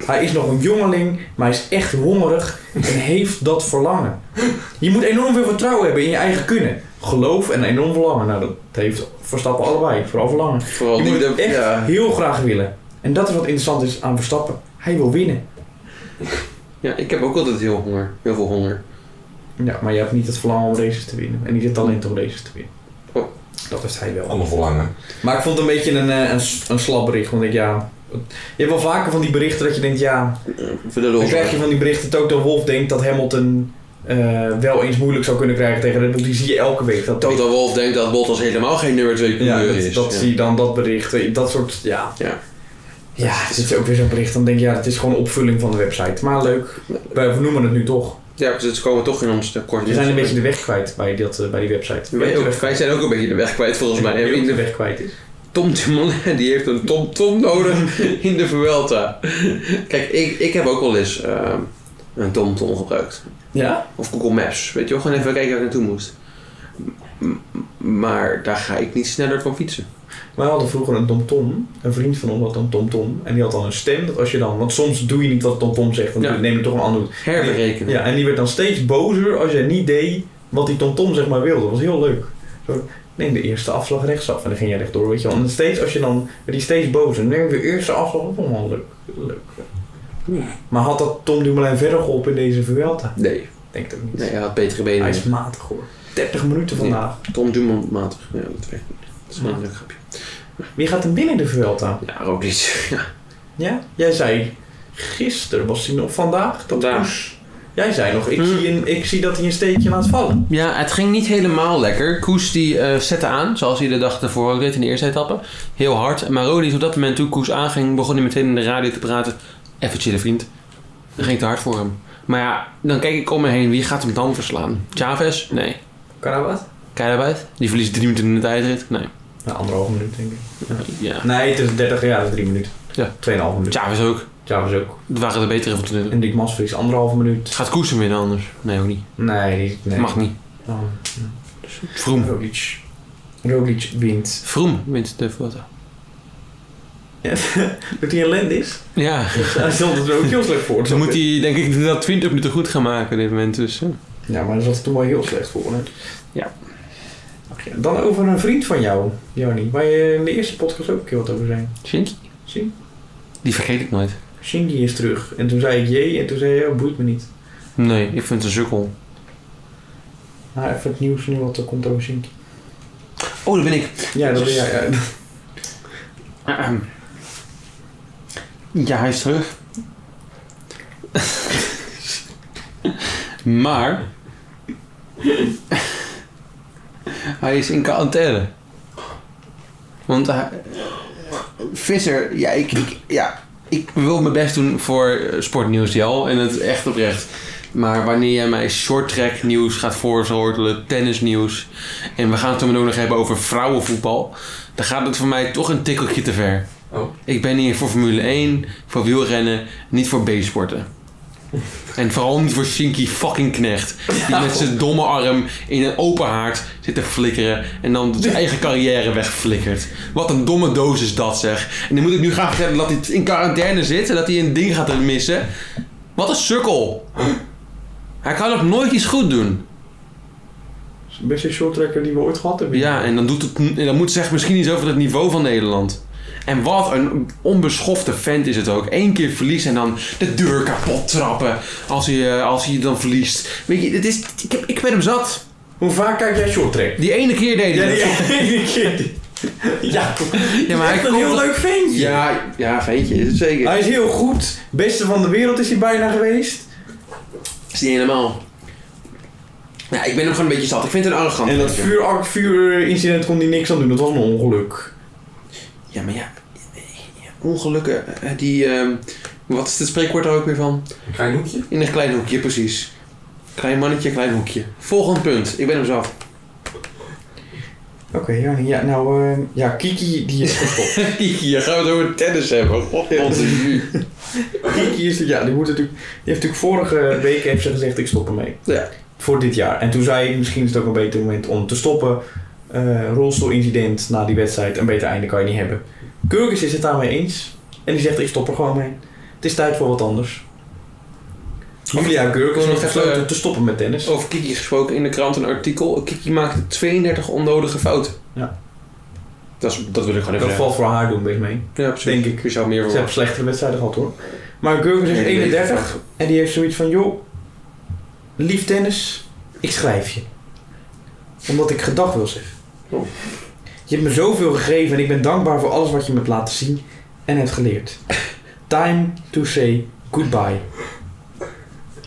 Speaker 1: Hij is nog een jongeling, maar hij is echt hongerig en heeft dat verlangen. Je moet enorm veel vertrouwen hebben in je eigen kunnen. Geloof en enorm verlangen. Nou, dat heeft Verstappen allebei. Vooral verlangen.
Speaker 2: Vooral
Speaker 1: Je
Speaker 2: die-
Speaker 1: moet het
Speaker 2: de-
Speaker 1: echt
Speaker 2: ja.
Speaker 1: heel graag willen. En dat is wat interessant is aan Verstappen. Hij wil winnen.
Speaker 2: ja, ik heb ook altijd heel, honger, heel veel honger.
Speaker 1: Ja, maar je hebt niet het verlangen om races te winnen. En niet het talent om races te winnen.
Speaker 2: Oh.
Speaker 1: Dat heeft hij wel.
Speaker 3: Allemaal verlangen.
Speaker 1: Maar ik vond het een beetje een, eh, een, s- een slap bericht. Want ik, ja... Je hebt wel vaker van die berichten dat je denkt, ja...
Speaker 2: Voor de
Speaker 1: Dan
Speaker 2: lol.
Speaker 1: krijg je van die berichten dat Toto Wolf denkt dat Hamilton... eh, wel eens moeilijk zou kunnen krijgen tegen Red Bull. Die zie je elke week. Dat
Speaker 2: Toto Wolf denkt dat Bottas helemaal geen nummer 2
Speaker 1: Ja,
Speaker 2: coureur
Speaker 1: dat,
Speaker 2: is.
Speaker 1: dat
Speaker 2: Ja.
Speaker 1: zie je dan, dat bericht. eh, Dat soort, ja.
Speaker 2: Ja.
Speaker 1: Ja, dit is ook weer zo'n bericht. Dan denk je, ja, het is gewoon opvulling van de website. Maar leuk. Wij vernoemen het nu toch.
Speaker 2: Ja, dus het komen toch in ons tekort.
Speaker 1: We zijn een beetje de weg kwijt bij, dat, eh, bij die website.
Speaker 2: wij, ook, wij zijn ook een beetje de weg kwijt volgens mij.
Speaker 1: Wie
Speaker 2: In
Speaker 1: ook de
Speaker 2: de
Speaker 1: weg kwijt is.
Speaker 2: Tom Dumoulin, die heeft een Tom Tom nodig in de Vuelta. Kijk, ik, ik heb ook wel eens ehm, een Tom Tom gebruikt.
Speaker 1: Ja?
Speaker 2: Of Google Maps, weet je wel. Gewoon even kijken waar ik naartoe moest. M- m- maar daar ga ik niet sneller van fietsen.
Speaker 1: Wij hadden vroeger een tomtom. Een vriend van ons had een tomtom. En die had dan een stem. Dat als je dan, want soms doe je niet wat tomtom zegt. Want
Speaker 2: Ja.
Speaker 1: dan neem je toch een ander.
Speaker 2: Herberekenen.
Speaker 1: Ja, en die werd dan steeds bozer als jij niet deed wat die tomtom zeg maar wilde. Dat was heel leuk. Zo, neem de eerste afslag rechtsaf. En dan ging jij rechtdoor, weet je wel. En steeds als je dan, werd die steeds bozer. Neem de eerste afslag op. Oh, leuk. leuk.
Speaker 2: Ja.
Speaker 1: Maar had dat Tom Dumoulin verder geholpen in deze Vuelta?
Speaker 2: Nee,
Speaker 1: Denk ik ook niet.
Speaker 2: nee, hij had betere benen.
Speaker 1: Hij is matig hoor. 30 minuten vandaag.
Speaker 2: Tom Dumoulin matig. Ja, dat weet ik niet. Dat is wel een leuk grapje.
Speaker 1: Wie gaat hem binnen de Vuelta?
Speaker 2: Ja, ook niet. Ja,
Speaker 1: Ja? Jij zei gisteren, was hij nog vandaag? Dat
Speaker 2: Vandaag.
Speaker 1: Koes- Jij zei nog, ik,
Speaker 2: Hmm.
Speaker 1: zie een, ik zie dat hij een steekje laat vallen.
Speaker 2: Ja, het ging niet helemaal lekker. Koes die eh, zette aan, zoals hij de dag ervoor ook deed in de eerste etappe. Heel hard. Maar Rodi is op dat moment toen Koes aanging, begon hij meteen in de radio te praten. Even chillen vriend. Dat ging te hard voor hem. Maar ja, dan kijk ik om me heen. Wie gaat hem dan verslaan? Chavez? Nee.
Speaker 1: Kan hij wat?
Speaker 2: Keirabuit? Die verliest drie minuten in de tijdrit? Nee.
Speaker 1: Nou, anderhalve minuut denk ik.
Speaker 2: Ja.
Speaker 1: Nee, het is 30 jaar, dat is 3 minuten.
Speaker 2: Ja.
Speaker 1: 2,5 minuut.
Speaker 2: Chavez ook.
Speaker 1: Ja, was ook.
Speaker 2: Dat waren de betere van toen.
Speaker 1: En Dick Masvries, anderhalve minuut.
Speaker 2: Gaat Koes hem winnen anders? Nee, ook niet.
Speaker 1: Nee, die, nee.
Speaker 2: Mag niet.
Speaker 1: Oh,
Speaker 2: Vroom.
Speaker 1: Roglic. Roglic wint.
Speaker 2: Vroom wint de Vuelta.
Speaker 1: Dat hij een land is?
Speaker 2: Ja.
Speaker 1: Hij stelt het er ook heel slecht voor.
Speaker 2: Dus Dan moet hij denk ik dat 20 minuten goed gaan maken op dit moment. Dus, eh.
Speaker 1: Ja, maar daar zat het toen wel heel slecht voor, hè?
Speaker 2: Ja.
Speaker 1: Oké, Dan over een vriend van jou, Joni, waar je in de eerste podcast ook een keer wat over zei.
Speaker 2: Shinky?
Speaker 1: Zie,
Speaker 2: Die vergeet ik nooit.
Speaker 1: Shinji is terug. En toen zei ik jee, en toen zei je, oh, boeit me niet.
Speaker 2: Nee, ik vind het een sukkel.
Speaker 1: Maar even het nieuws nu, wat er komt over Dus- zien.
Speaker 2: Oh, daar ben ik.
Speaker 1: Ja, dat ben jij. Ja.
Speaker 2: Ahem. Ja, hij is terug. maar. hij is in quarantaine. Want hij. Visser, ja ik, ik, ja, ik wil mijn best doen voor eh, Sportnieuws JL en het is echt oprecht. Maar wanneer jij mij shorttrack nieuws gaat voorschotelen, tennisnieuws en we gaan het er nog hebben over vrouwenvoetbal, dan gaat het voor mij toch een tikkeltje te ver.
Speaker 3: Oh.
Speaker 2: Ik ben hier voor Formule 1, voor wielrennen, niet voor B-sporten. En vooral niet voor Shinky fucking Knecht. Die met zijn domme arm in een open haard zit te flikkeren. En dan zijn eigen carrière wegflikkert. Wat een domme doos is dat zeg. En dan moet ik nu graag vertellen dat hij in quarantaine zit. En dat hij een ding gaat missen. Wat een sukkel. Hij kan nog nooit iets goed doen.
Speaker 1: Dat is de beste shorttracker die we ooit gehad hebben.
Speaker 2: Ja, en dan, doet het, en dan moet zeg misschien iets over het niveau van Nederland. En wat een onbeschofte vent is het ook. Eén keer verliezen en dan de deur kapot trappen. Als hij, eh, als hij dan verliest. Weet je, het is, ik, heb- ik ben hem zat.
Speaker 3: Hoe vaak kijk jij shorttrack?
Speaker 2: Die ene keer deed hij dat.
Speaker 1: Ja,
Speaker 2: Ja, maar hij
Speaker 1: echt een
Speaker 2: komt...
Speaker 1: heel leuk ventje.
Speaker 2: Ja, ja, ventje, is het zeker.
Speaker 1: Hij is heel goed. Beste van de wereld is hij bijna geweest.
Speaker 2: is niet helemaal. Ja, ik ben hem gewoon een beetje zat. Ik vind het een arrogant.
Speaker 1: En dat
Speaker 2: ventje.
Speaker 1: vuur, vuurincident kon hij niks aan doen. Dat was een ongeluk.
Speaker 2: Ja, maar ja. Ongelukken, eh, die... ehm, wat is het spreekwoord daar ook weer van?
Speaker 3: Een klein hoekje?
Speaker 2: In een klein hoekje, precies. Klein mannetje, klein hoekje. Volgend punt. Ik ben hem zelf.
Speaker 1: Oké, ja, ja, nou, ehm, ja, Kiki die is gestopt.
Speaker 2: Hier gaan we het over tennis hebben. God,
Speaker 1: wat
Speaker 2: nu.
Speaker 1: Kiki is, ja, die, moet natuurlijk, die heeft natuurlijk vorige week heeft ze gezegd, ik stop ermee.
Speaker 2: Ja.
Speaker 1: Voor dit jaar. En toen zei ik, misschien is het ook een beter moment om te stoppen. Eh, rolstoelincident na die wedstrijd, een beter einde kan je niet hebben. Kurkis is het daarmee eens. En die zegt, ik stop er gewoon mee. Het is tijd voor wat anders. Julia Kurkis
Speaker 2: Nog eh, Oh,
Speaker 1: heeft
Speaker 2: even-
Speaker 1: besloten te stoppen met tennis.
Speaker 2: Over Kiki gesproken in de krant een artikel. Kiki maakte 32 onnodige fouten.
Speaker 1: Ja.
Speaker 2: Dat, is, dat wil ik gewoon
Speaker 1: Dat
Speaker 2: even zeggen.
Speaker 1: valt voor haar doen, weet ik mee.
Speaker 2: Ja, precies.
Speaker 1: Denk ik.
Speaker 2: Je zou meer
Speaker 1: Ze hebben
Speaker 2: verwachten.
Speaker 1: slechtere wedstrijden gehad hoor. Maar Gurkens is 31 en die heeft zoiets van: joh, lief tennis, ik schrijf je. Omdat ik gedag wil zeggen.
Speaker 2: Oh.
Speaker 1: Je hebt me zoveel gegeven en ik ben dankbaar voor alles wat je me hebt laten zien en hebt geleerd. Time to say goodbye.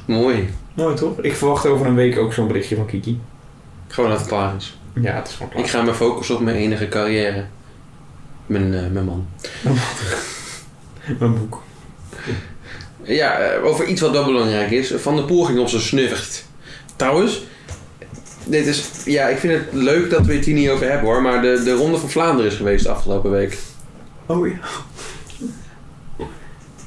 Speaker 2: Mooi.
Speaker 1: Mooi toch? Ik verwacht over een week ook zo'n berichtje van Kiki.
Speaker 2: Gewoon dat het klaar is.
Speaker 1: Ja, het is gewoon klaar.
Speaker 2: Ik ga me focussen op mijn enige carrière. Mijn, eh, mijn man.
Speaker 1: Mijn boek.
Speaker 2: Ja, eh, over iets wat wel belangrijk is. Van der Poel ging op zijn snuffert. Trouwens, dit is, ja, ik vind het leuk dat we het hier niet over hebben hoor. Maar de, de Ronde van Vlaanderen is geweest de afgelopen week.
Speaker 1: Oh ja.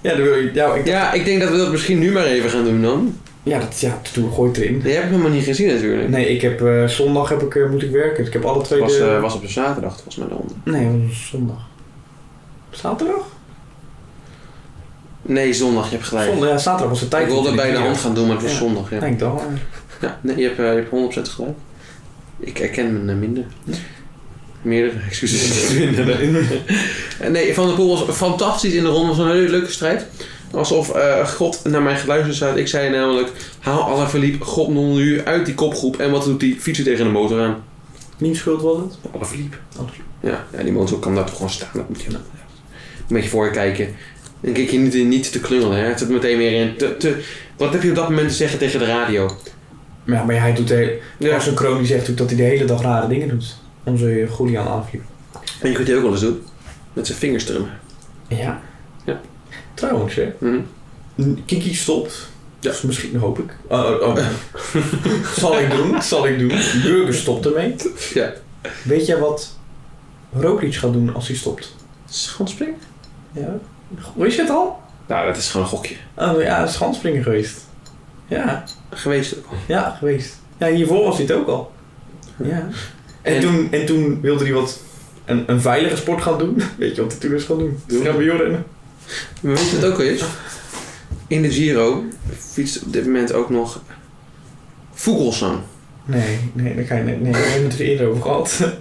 Speaker 1: Ja, dat wil ik. Ja, ik,
Speaker 2: Ja, ik denk dat we dat misschien nu maar even gaan doen dan.
Speaker 1: ja, dat, ja dat doe, gooi het erin.
Speaker 2: Die heb ik helemaal niet gezien natuurlijk.
Speaker 1: Nee, ik heb eh, zondag heb ik, eh, moet ik werken. Dus ik heb alle twee
Speaker 2: Het was,
Speaker 1: de...
Speaker 2: eh, was op een zaterdag, volgens mij de Ronde.
Speaker 1: Nee, dat was zondag. Zaterdag?
Speaker 2: Nee, zondag, je hebt gelijk.
Speaker 1: Zondag, ja, zaterdag was de tijd.
Speaker 2: Ik wilde het bij de
Speaker 1: natuurlijk.
Speaker 2: hand gaan doen, maar het was
Speaker 1: Ja.
Speaker 2: zondag.
Speaker 1: Ik oh,
Speaker 2: Ja.
Speaker 1: Denk dan.
Speaker 2: Ja, nee, je hebt, eh, je hebt 100% gelijk. Ik herken me eh, minder. Meerdere excuses. Minder. Eh, Nee, Van der Poel was fantastisch in de ronde. Het was een hele leuke strijd. Alsof eh, God naar mij geluisterd had. Ik zei namelijk, haal Alaphilippe God nu uit die kopgroep. En wat doet die fietsen tegen de motor aan?
Speaker 1: Niet schuld was het?
Speaker 2: Alaphilippe.
Speaker 1: Alaphilippe.
Speaker 2: Ja, ja, die motor kan daar toch gewoon staan. Dat moet je nou een beetje voor je kijken. En kijk je niet, niet te klungelen. Hè? Het zit meteen weer in. Te, te, wat heb je op dat moment te zeggen tegen de radio?
Speaker 1: Ja, maar hij doet... De...
Speaker 2: Ja.
Speaker 1: Als een kroon die zegt ook dat hij de hele dag rare dingen doet. eh, Onze Julian aanviel.
Speaker 2: En je kunt die ook wel eens doen. Met zijn vingers drummen.
Speaker 1: Ja.
Speaker 2: Ja.
Speaker 1: Trouwens, hè.
Speaker 2: Mhm.
Speaker 1: Kiki stopt.
Speaker 2: Ja. oh.
Speaker 1: Dus misschien hoop ik. Oh, oh, oh. zal ik doen, zal ik doen. Burger stopt ermee.
Speaker 2: Ja.
Speaker 1: Weet jij wat Roglic gaat doen als hij stopt?
Speaker 2: Schanspringen?
Speaker 1: Ja. Wist je het al?
Speaker 2: Nou, dat is gewoon een gokje.
Speaker 1: Oh ja, dat is schanspringer geweest. Ja,
Speaker 2: Geweest ook al.
Speaker 1: ja, geweest. Ja, hiervoor was hij het ook al. Ja. En,
Speaker 2: En-
Speaker 1: toen, en toen wilde hij wat een, een veilige sport gaan doen. Weet je wat hij toen is gaan doen?
Speaker 2: Doen.
Speaker 1: Schabiorennen.
Speaker 2: Maar weet je wat het ook al is? In de Giro fietst op dit moment ook nog Vogelsang.
Speaker 1: Nee, nee, daar kan je net. Nee, we hebben het er eerder over gehad.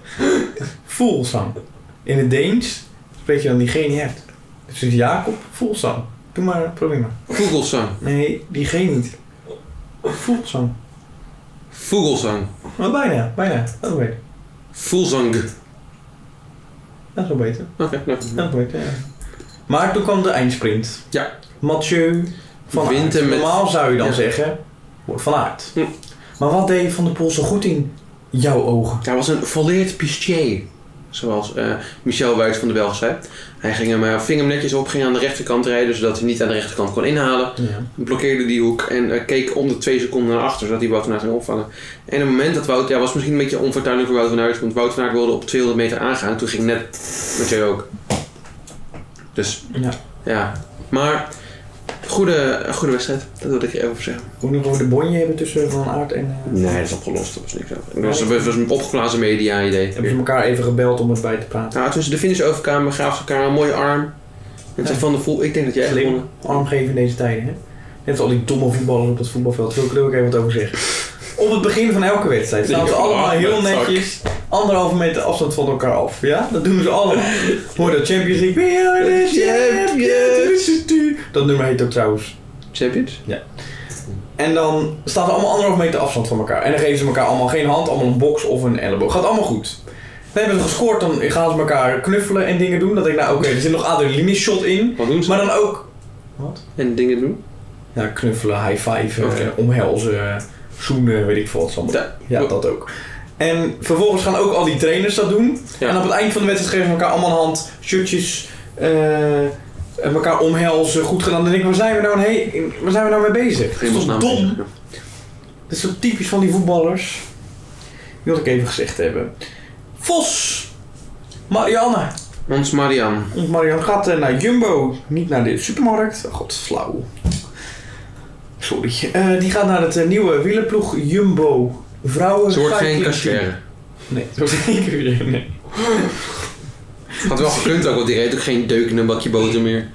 Speaker 1: Voelsang. In het Deens spreek je dan diegene uit. Dus het is Jacob Voelsang. Doe maar, probeer maar.
Speaker 2: Vogelsang.
Speaker 1: Nee, diegene niet. Voelsang.
Speaker 2: Vogelsang.
Speaker 1: Maar Oh, bijna, bijna. Oh, Dat is beter.
Speaker 2: Voelzang. Oké,
Speaker 1: Dat is wel beter.
Speaker 2: nou.
Speaker 1: Dat is beter, ja. Maar toen kwam de eindsprint.
Speaker 2: Ja.
Speaker 1: Mathieu van
Speaker 2: Wint
Speaker 1: Aert.
Speaker 2: hem met-
Speaker 1: Normaal zou je dan
Speaker 2: Ja.
Speaker 1: zeggen, wordt van Aert.
Speaker 2: Hm.
Speaker 1: Maar wat deed Van der Poel zo goed in jouw ogen?
Speaker 2: Hij was een volleerd pistier. Zoals eh, Michel Wuits van de Belg zei. Hij ging hem, eh, ving hem netjes op, ging aan de rechterkant rijden, zodat hij niet aan de rechterkant kon inhalen.
Speaker 1: Ja.
Speaker 2: blokkeerde die hoek en eh, keek om de twee seconden naar achter, zodat hij Wout van Aert ging opvangen. En op het moment dat Wout, ja, was misschien een beetje onfortuinlijk voor Wout van Aert, want Wout van Aert wilde op 200 meter aangaan. Toen ging net met jou ook. Dus,
Speaker 1: Ja.
Speaker 2: ja. Maar, goede, goede wedstrijd. Dat wil ik je even over zeggen.
Speaker 1: Moet nog over de bonje hebben tussen Van Aert en... eh,
Speaker 2: Nee, dat is opgelost. Dat was niks over. Dat was, dat was een opgeblazen media-idee.
Speaker 1: Hebben ze elkaar even gebeld om het bij te praten.
Speaker 2: Nou, tussen de finish overkamer gaven ze elkaar een mooie arm. Ik zei
Speaker 1: Ja.
Speaker 2: van de voel, ik denk dat jij hebt
Speaker 1: Slim.
Speaker 2: gewonnen.
Speaker 1: Armgeven in deze tijden, hè? Net als al die domme voetballers op het voetbalveld. Daar wil ik er ook even wat over zeggen. Op het begin van elke wedstrijd staan ze
Speaker 2: Ja,
Speaker 1: allemaal heel
Speaker 2: dat zak.
Speaker 1: netjes anderhalve meter afstand van elkaar af. Ja, dat doen ze allemaal. Hoor dat Champions League. We are the champions. Dat nummer heet ook trouwens.
Speaker 2: Champions?
Speaker 1: En dan staan ze allemaal anderhalve meter afstand van elkaar. En dan geven ze elkaar allemaal geen hand, allemaal een box of een elleboog. Gaat allemaal goed. Dan hebben ze gescoord, dan gaan ze elkaar knuffelen en dingen doen. Dan denk ik, nou oké, er zit nog adrenaline shot in.
Speaker 2: Wat doen ze?
Speaker 1: Maar dan ook
Speaker 2: En dingen doen?
Speaker 1: Ja, knuffelen, high five, eh,
Speaker 2: Oké.
Speaker 1: omhelzen, eh, zoenen, weet ik veel wat. ze allemaal
Speaker 2: Ja.
Speaker 1: doen. Ja, dat ook. En vervolgens gaan ook al die trainers dat doen.
Speaker 2: Ja.
Speaker 1: En op het eind van de wedstrijd geven ze elkaar allemaal een hand, shirtjes, eh, en elkaar omhelzen, goed gedaan. Dan denk ik, waar zijn we nou, heen, waar zijn we nou mee bezig? Dat is toch dom?
Speaker 2: Ja.
Speaker 1: Dat is zo typisch van die voetballers. Die wilde ik even gezegd hebben. Vos! Marianne!
Speaker 2: Ons Marianne.
Speaker 1: Ons Marianne gaat eh, naar Jumbo, niet naar de supermarkt. Oh, god, flauw. Sorry. Eh, die gaat naar het eh, nieuwe wielerploeg Jumbo Vrouwen.
Speaker 2: Ze wordt geen
Speaker 1: Cycling Team.
Speaker 2: cashier.
Speaker 1: Nee, ze wordt geen cashier. Nee.
Speaker 2: Had wel gekund ook, want die reed ook geen deuk in een bakje boter meer.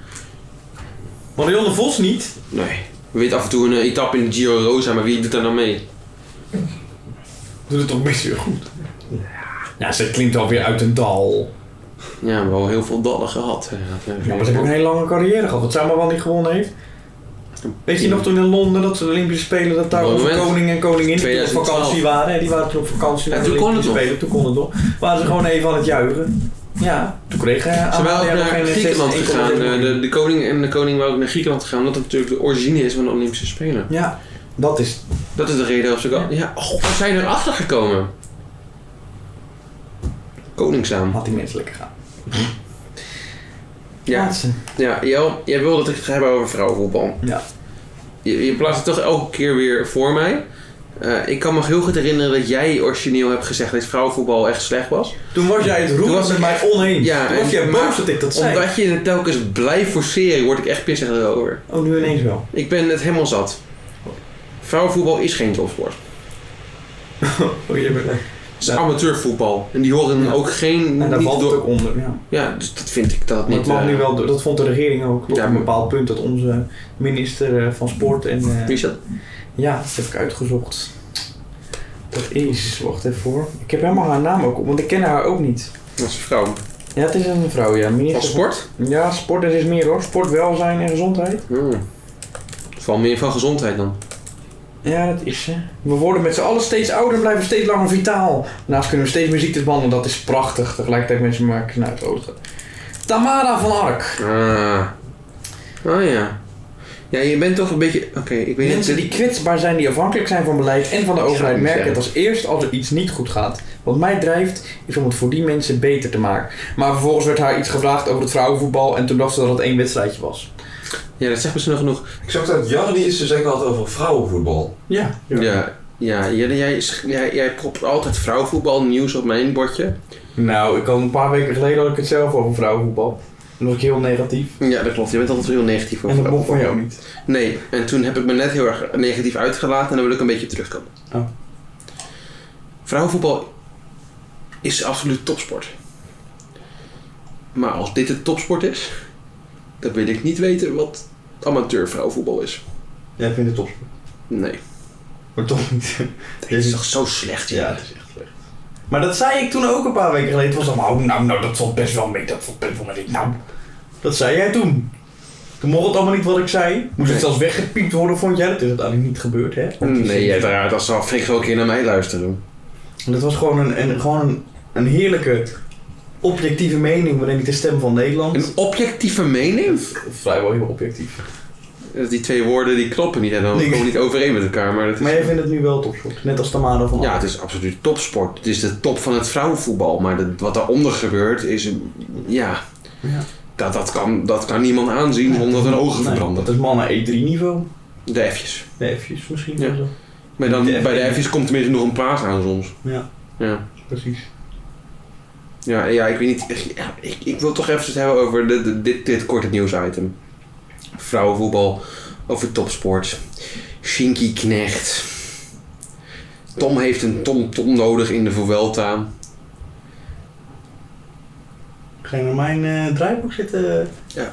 Speaker 1: Marianne Vos niet.
Speaker 2: Nee. Weet af en toe een eh, etappe in de Giro Rosa, maar wie doet daar nou mee?
Speaker 1: Doet het toch best weer goed. Ja, ze klinkt alweer uit een dal.
Speaker 2: Ja, we hebben al heel veel dallen gehad. Ja, eh,
Speaker 1: Ja, maar ze heeft een hele lange carrière gehad. Wat zij maar wel niet gewonnen heeft. Weet je nog toen in Londen dat ze de Olympische Spelen, dat daar
Speaker 2: Mooi
Speaker 1: onze
Speaker 2: moment.
Speaker 1: koning en koningin die op
Speaker 2: 2012.
Speaker 1: vakantie waren. hè, Die waren toen op vakantie
Speaker 2: Ja,
Speaker 1: naar
Speaker 2: toen
Speaker 1: de
Speaker 2: kon het
Speaker 1: Olympische
Speaker 2: nog.
Speaker 1: Spelen. Toen kon het nog. Waren ze gewoon even aan het juichen. Ja, toen kreeg hij
Speaker 2: Ze waren ook
Speaker 1: Amalia nog
Speaker 2: naar
Speaker 1: geen
Speaker 2: Griekenland
Speaker 1: 16,1
Speaker 2: gegaan.
Speaker 1: miljoen.
Speaker 2: eh, De, de koning en de koning waren ook naar Griekenland gegaan, omdat dat natuurlijk de origine is van de Olympische Spelen.
Speaker 1: Ja, dat is...
Speaker 2: Dat is de reden dat ze... Ja, ja god, waar zijn we erachter gekomen? Koningszaam.
Speaker 1: Had die mensen lekker gaan.
Speaker 2: Ja,
Speaker 1: Laatste.
Speaker 2: ja Jel, jij wilde dat ik het ga hebben over vrouwenvoetbal.
Speaker 1: Ja.
Speaker 2: Je, je plaatst het toch elke keer weer voor mij. Eh, ik kan me heel goed herinneren dat jij origineel hebt gezegd dat vrouwenvoetbal echt slecht was.
Speaker 1: Toen was jij het
Speaker 2: Toen
Speaker 1: roer
Speaker 2: was
Speaker 1: met
Speaker 2: ik-
Speaker 1: mij oneens.
Speaker 2: Ja,
Speaker 1: toen was
Speaker 2: en-
Speaker 1: jij
Speaker 2: maar-
Speaker 1: boos dat ik dat zei.
Speaker 2: Omdat je het telkens blijft forceren, word ik echt pissig erover.
Speaker 1: Oh, nu ineens wel.
Speaker 2: Ik ben het helemaal zat. Vrouwenvoetbal is geen topsport.
Speaker 1: Oh, je bent...
Speaker 2: Het is amateurvoetbal. En die horen
Speaker 1: Ja.
Speaker 2: ook geen...
Speaker 1: En daar
Speaker 2: niet
Speaker 1: valt het
Speaker 2: door-
Speaker 1: ook onder. Ja.
Speaker 2: Ja, dus dat vind ik dat het
Speaker 1: Maar
Speaker 2: niet...
Speaker 1: het mag
Speaker 2: eh,
Speaker 1: nu wel, door- dat vond de regering ook op
Speaker 2: Ja,
Speaker 1: een
Speaker 2: maar-
Speaker 1: bepaald punt dat onze minister eh, van Sport en. eh,
Speaker 2: Wie is dat?
Speaker 1: ja, dat heb ik uitgezocht. Dat is, wacht even voor. Ik heb helemaal haar naam ook op, want ik ken haar ook niet.
Speaker 2: Dat is een vrouw.
Speaker 1: Ja, het is een vrouw, ja.
Speaker 2: Van
Speaker 1: Minister
Speaker 2: sport?
Speaker 1: van- Ja, sport, dat is meer hoor. Sport, welzijn en gezondheid.
Speaker 2: Hmm. Vooral meer van gezondheid dan.
Speaker 1: Ja, dat is ze. We worden met z'n allen steeds ouder en blijven steeds langer vitaal. Daarnaast kunnen we steeds meer ziektes behandelen, dat is prachtig. Tegelijkertijd mensen maken snuit oosten. Tamara van Ark.
Speaker 2: Ah. Ah ja. Ja, je bent toch een beetje... Oké, ik weet niet...
Speaker 1: Mensen die kwetsbaar zijn, die afhankelijk zijn van beleid en van de overheid,
Speaker 2: niet
Speaker 1: merken het
Speaker 2: zeggen.
Speaker 1: als eerst als er iets niet goed gaat. Wat mij drijft, is om het voor die mensen beter te maken. Maar vervolgens werd haar iets gevraagd over het vrouwenvoetbal en toen dacht ze dat het één wedstrijdje was.
Speaker 2: Ja, dat zegt misschien nog genoeg.
Speaker 3: Ik zag dat Janne die is dus eigenlijk altijd over vrouwenvoetbal.
Speaker 1: Ja.
Speaker 2: Ja, ja jij, jij, jij, jij propt altijd vrouwenvoetbal nieuws op mijn bordje.
Speaker 1: Nou, ik had een paar weken geleden had ik het zelf over vrouwenvoetbal. Toen was ik heel negatief.
Speaker 2: Ja, dat klopt. Je bent altijd heel negatief
Speaker 1: En
Speaker 2: over
Speaker 1: dat mocht van
Speaker 2: vrouwenvoetbal.
Speaker 1: jou niet.
Speaker 2: Nee, en toen heb ik me net heel erg negatief uitgelaten en daar wil ik een beetje op terugkomen.
Speaker 1: Oh.
Speaker 2: Vrouwenvoetbal is absoluut topsport. Maar als dit het topsport is, dan wil ik niet weten wat amateur vrouwenvoetbal is.
Speaker 3: Jij vindt het top.
Speaker 2: Nee.
Speaker 3: Maar toch niet.
Speaker 2: Dat is toch zo slecht, ja.
Speaker 3: het is echt slecht.
Speaker 1: Maar dat zei ik toen ook een paar weken geleden. Het was allemaal, oh, nou, nou, dat valt best wel mee. Dat valt best wel mee. Nou, dat zei jij toen. Toen mocht het allemaal niet wat ik zei. Moest het zelfs weggepiept worden, vond jij? Dat is uiteindelijk niet gebeurd, hè?
Speaker 2: Nee, uiteraard. Dat zal flink wel een keer naar mij luisteren.
Speaker 1: Dat was gewoon een, een, gewoon een, een heerlijke objectieve mening waarin ik de stem van Nederland...
Speaker 2: Een objectieve mening?
Speaker 3: Vrijwel heel objectief.
Speaker 2: Die twee woorden die kloppen niet en dan
Speaker 1: Nee.
Speaker 2: komen niet overeen met elkaar. Maar, dat is-
Speaker 1: Maar jij vindt het nu wel topsport. Net als Tamara van
Speaker 2: ja,
Speaker 1: Aert.
Speaker 2: het is absoluut topsport. Het is de top van het vrouwenvoetbal. Maar de- wat daaronder gebeurt is... Ja,
Speaker 1: Ja.
Speaker 2: dat, dat, kan, dat kan niemand aanzien zonder dat hun ogen
Speaker 1: Nee,
Speaker 2: verbranden.
Speaker 1: Dat is mannen E3 niveau.
Speaker 2: De F'jes.
Speaker 1: Nee, eventjes misschien.
Speaker 2: Ja.
Speaker 1: wel zo.
Speaker 2: Maar dan,
Speaker 1: De F-
Speaker 2: bij de F'jes komt tenminste nog een plaats aan soms.
Speaker 1: Ja.
Speaker 2: Ja,
Speaker 1: Precies.
Speaker 2: ja, ja ik weet niet. Ja, ik, ik wil toch even het hebben over de, de- dit, dit korte nieuwsitem. Vrouwenvoetbal, over topsport. Shinky Knecht. Tom heeft een tom-tom nodig in de Vuelta.
Speaker 1: Ga je naar mijn eh, draaiboek zitten?
Speaker 2: Ja.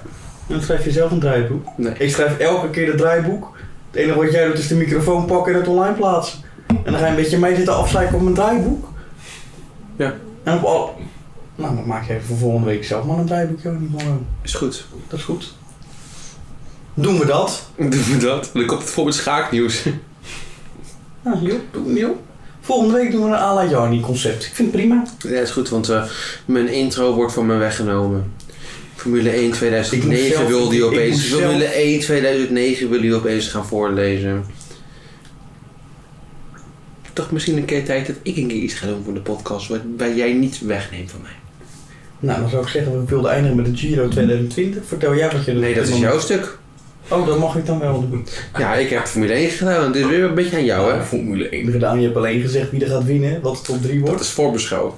Speaker 1: En dan schrijf je zelf een draaiboek.
Speaker 2: Nee.
Speaker 1: Ik schrijf elke keer het draaiboek. Het enige wat jij doet is de microfoon pakken en het online plaatsen. En dan ga je een beetje mee zitten afzeiken op mijn draaiboek.
Speaker 2: Ja.
Speaker 1: En op al... Nou, dan maak je even voor volgende week zelf maar een draaiboek. Joh. Niet gewoon-
Speaker 2: Is goed.
Speaker 1: Dat is goed. Doen we dat?
Speaker 2: Doen we dat? Dan komt het voor met schaaknieuws.
Speaker 1: Nou, joh, doen we joh. Volgende week doen we een ala Jarni concept. Ik vind het prima.
Speaker 2: Ja, is goed, want eh, mijn intro wordt van me weggenomen. Formule 1
Speaker 1: Ik
Speaker 2: 2009
Speaker 1: moest zelf-
Speaker 2: wil die
Speaker 1: ik
Speaker 2: opeens.
Speaker 1: moest zelf-
Speaker 2: Formule 1 2009 wil die opeens gaan voorlezen. Toch misschien een keer tijd dat ik een keer iets ga doen voor de podcast, waar, waar jij niet wegneemt van mij.
Speaker 1: Nou, dan zou ik zeggen, we wilden eindigen met de Giro 2020. Vertel jij wat je doet.
Speaker 2: Nee, dat is
Speaker 1: Dan-
Speaker 2: jouw stuk.
Speaker 1: Oh, dat mag ik dan wel doen.
Speaker 2: Ja, ik heb Formule 1 gedaan, het is weer een beetje aan jou, hè?
Speaker 1: Formule 1 gedaan. Je hebt alleen gezegd wie er gaat winnen, wat de top 3
Speaker 2: Dat
Speaker 1: wordt.
Speaker 2: is voorbeschouw.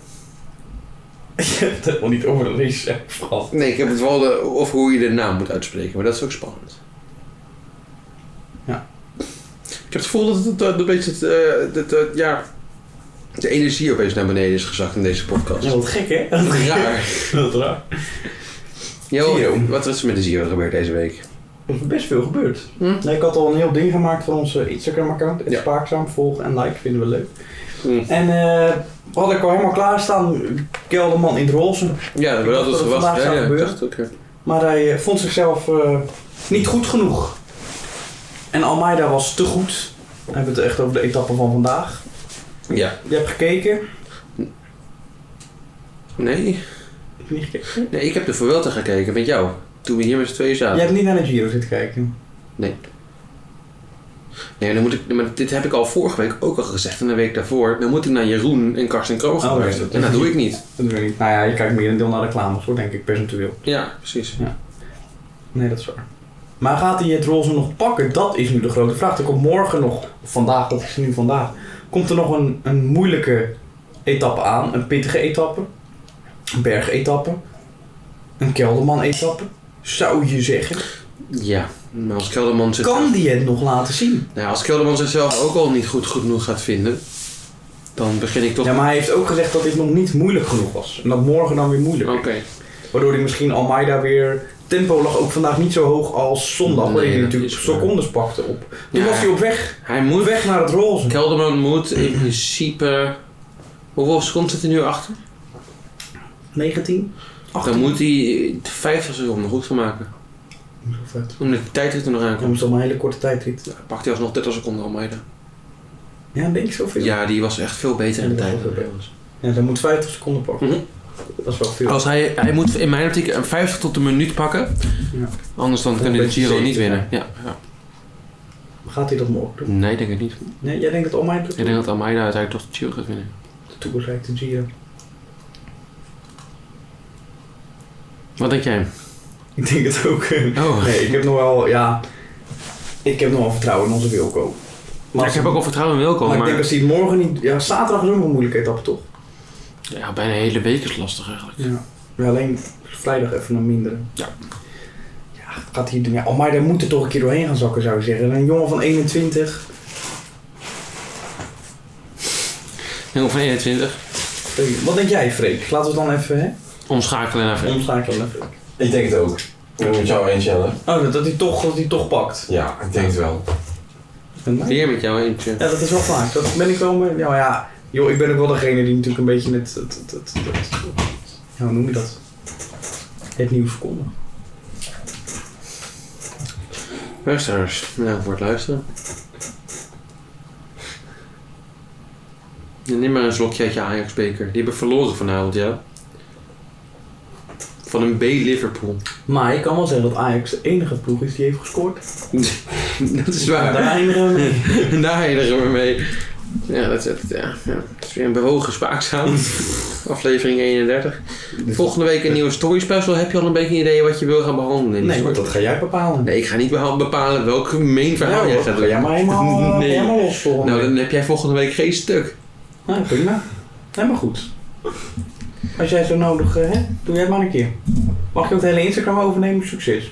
Speaker 1: Je hebt het helemaal niet over de race zelf gehad.
Speaker 2: Nee, ik heb het wel de, of hoe je de naam moet uitspreken, maar dat is ook spannend.
Speaker 1: Ja.
Speaker 2: Ik heb het gevoel dat, het, dat, een beetje het, eh, dat, eh, ja, de energie opeens naar beneden is gezakt in deze podcast.
Speaker 1: Ja, wat gek, hè? Dat is
Speaker 2: Raar.
Speaker 1: Dat is raar.
Speaker 2: Jo,
Speaker 1: Gio.
Speaker 2: wat is er met de Giro gebeurd deze week?
Speaker 1: Er is best veel gebeurd.
Speaker 2: Hm?
Speaker 1: Nee, ik had al een heel ding gemaakt van onze Instagram-account. Het
Speaker 2: Ja.
Speaker 1: Spaakzaam, volgen en like, vinden we leuk.
Speaker 2: Hm.
Speaker 1: En eh, had ik al helemaal klaarstaan, Kelderman in het roze.
Speaker 2: Ja, dat
Speaker 1: Ik
Speaker 2: we
Speaker 1: dacht
Speaker 2: hadden het
Speaker 1: dat het
Speaker 2: verwacht.
Speaker 1: vandaag
Speaker 2: Ja,
Speaker 1: zou
Speaker 2: ja, ik
Speaker 1: gebeuren.
Speaker 2: dacht ook, ja.
Speaker 1: Maar hij eh, vond zichzelf eh, niet goed genoeg. En Almeida was te goed. We hebben het echt over de etappe van vandaag.
Speaker 2: Ja.
Speaker 1: Je hebt gekeken.
Speaker 2: Nee.
Speaker 1: Heb je niet gekeken?
Speaker 2: nee, ik heb de Vuelta gekeken met jou. Toen we hier met z'n tweeën zaten.
Speaker 1: Jij hebt niet naar de Giro zitten kijken.
Speaker 2: Nee, dan moet ik, maar dit heb ik al vorige week ook al gezegd en de week daarvoor. Dan moet ik naar Jeroen en Karsten Kroon gaan
Speaker 1: Oh,
Speaker 2: luisteren.
Speaker 1: nee.
Speaker 2: En dat doe ik niet.
Speaker 1: Dat weet ik niet. Nou ja, je kijkt meer een deel naar reclames hoor, denk ik, percentueel.
Speaker 2: Ja, precies.
Speaker 1: Nee, dat is waar. Maar gaat hij het roze nog pakken? Dat is nu de grote vraag. Er komt morgen nog, of vandaag, dat is nu vandaag, komt er nog een, een moeilijke etappe aan. Een pittige etappe. Een bergetappe. Een kelderman-etappe. Zou je zeggen.
Speaker 2: Ja, maar als Kelderman, zich,
Speaker 1: Kan die het nog laten zien?
Speaker 2: nou, ja, als Kelderman zichzelf ook al niet goed, goed genoeg gaat vinden, dan begin ik toch.
Speaker 1: Ja, maar hij heeft ook gezegd dat dit nog niet moeilijk genoeg was. En dat morgen dan weer moeilijk.
Speaker 2: Oké.
Speaker 1: Waardoor hij misschien Almeida weer... Tempo lag ook vandaag niet zo hoog als zondag.
Speaker 2: Nee,
Speaker 1: waarin hij
Speaker 2: dat
Speaker 1: natuurlijk
Speaker 2: is waar.
Speaker 1: secondes pakte op. Toen
Speaker 2: Ja.
Speaker 1: was hij op weg,
Speaker 2: Hij moet
Speaker 1: op weg naar het roze.
Speaker 2: Kelderman moet in principe. Hoeveel seconden zit er nu achter?
Speaker 1: 19?
Speaker 2: Dan moet hij 50 seconden goed gaan maken.
Speaker 1: Vet.
Speaker 2: Omdat de tijd er nog
Speaker 1: Dan
Speaker 2: aankomt.
Speaker 1: was dat maar een hele korte tijdrit.
Speaker 2: Dan Pakt hij alsnog 30 seconden Almeida.
Speaker 1: Ja, denk ik zoveel.
Speaker 2: Ja, die was echt veel beter in de
Speaker 1: Ja,
Speaker 2: tijd.
Speaker 1: dat was ook Ja, dan moet 50 seconden pakken.
Speaker 2: Mhm. Oh.
Speaker 1: Dat is wel veel.
Speaker 2: Als hij, hij moet in mijn optiek een 50 tot een minuut pakken.
Speaker 1: Ja.
Speaker 2: Anders dan kan hij de Giro niet winnen. Ja, ja.
Speaker 1: Gaat hij dat morgen doen?
Speaker 2: Nee, denk ik niet.
Speaker 1: Nee, jij denkt dat Almeida doet?
Speaker 2: Ik denk dat Almeida uiteindelijk toch de Giro gaat winnen.
Speaker 1: De Tour rijdt de Giro.
Speaker 2: Wat denk jij?
Speaker 1: Ik denk het ook.
Speaker 2: Oh.
Speaker 1: Nee, ik heb nog wel, ja... Ik heb nog wel vertrouwen in onze Wilco.
Speaker 2: Maar ik heb ook al vertrouwen in Wilco,
Speaker 1: Maar,
Speaker 2: maar,
Speaker 1: ik denk als hij het morgen niet... Ja, zaterdag is ook een moeilijke etappe, toch?
Speaker 2: ja, bijna de hele week is lastig eigenlijk.
Speaker 1: Ja. ja alleen vrijdag even een mindere.
Speaker 2: Ja.
Speaker 1: Ja, gaat hij doen. Ja, Almeida moet er toch een keer doorheen gaan zakken, zou ik zeggen. Een jongen van 21...
Speaker 2: Heel van 21,
Speaker 1: Freek, Wat denk jij, Freek? Laten we het dan even hè?
Speaker 2: omschakelen naar Freek.
Speaker 1: omschakelen. Even.
Speaker 3: Ik denk het ook. Ik ben met jou eens, Jelle.
Speaker 1: Oh, dat- dat hij toch, dat hij toch pakt.
Speaker 3: Ja, ik denk het wel.
Speaker 2: Weer met jou eentje.
Speaker 1: Ja, dat is wel vaak. Dat ben ik wel. mee- Ja, maar ja, joh, ik ben ook wel degene die natuurlijk een beetje het. het, het, het, het- ja, hoe noem je dat? Het nieuws verkondigt.
Speaker 2: Luisteraars, nou, voor het luisteren. En neem maar een slokje uit je Ajax-beker. Die hebben verloren vanavond, ja. Van een B Liverpool.
Speaker 1: Maar ik kan wel zeggen dat Ajax de enige ploeg is die heeft gescoord.
Speaker 2: dat is
Speaker 1: En
Speaker 2: waar.
Speaker 1: Daar eindigen we mee.
Speaker 2: En daar eindigen we mee. Ja, dat is het. Ja, ja. Het is weer een bewogen spaakzaam. Aflevering 31. Volgende week een nieuwe story special. Heb je al een beetje een idee wat je wil gaan behandelen? in die
Speaker 1: Nee, want
Speaker 2: story?
Speaker 1: dat ga jij bepalen.
Speaker 2: nee ik ga niet beha- bepalen welk gemeen verhaal
Speaker 1: Nou,
Speaker 2: jij
Speaker 1: dat
Speaker 2: gaat
Speaker 1: ga jij
Speaker 2: doen.
Speaker 1: maar helemaal, eh,
Speaker 2: Nee.
Speaker 1: helemaal los volgende
Speaker 2: Nou,
Speaker 1: week.
Speaker 2: dan heb jij volgende week geen stuk.
Speaker 1: Nou, prima. Helemaal goed. Als jij zo nodig eh, hè, doe jij het maar een keer. Mag je ook het hele Instagram overnemen? Succes.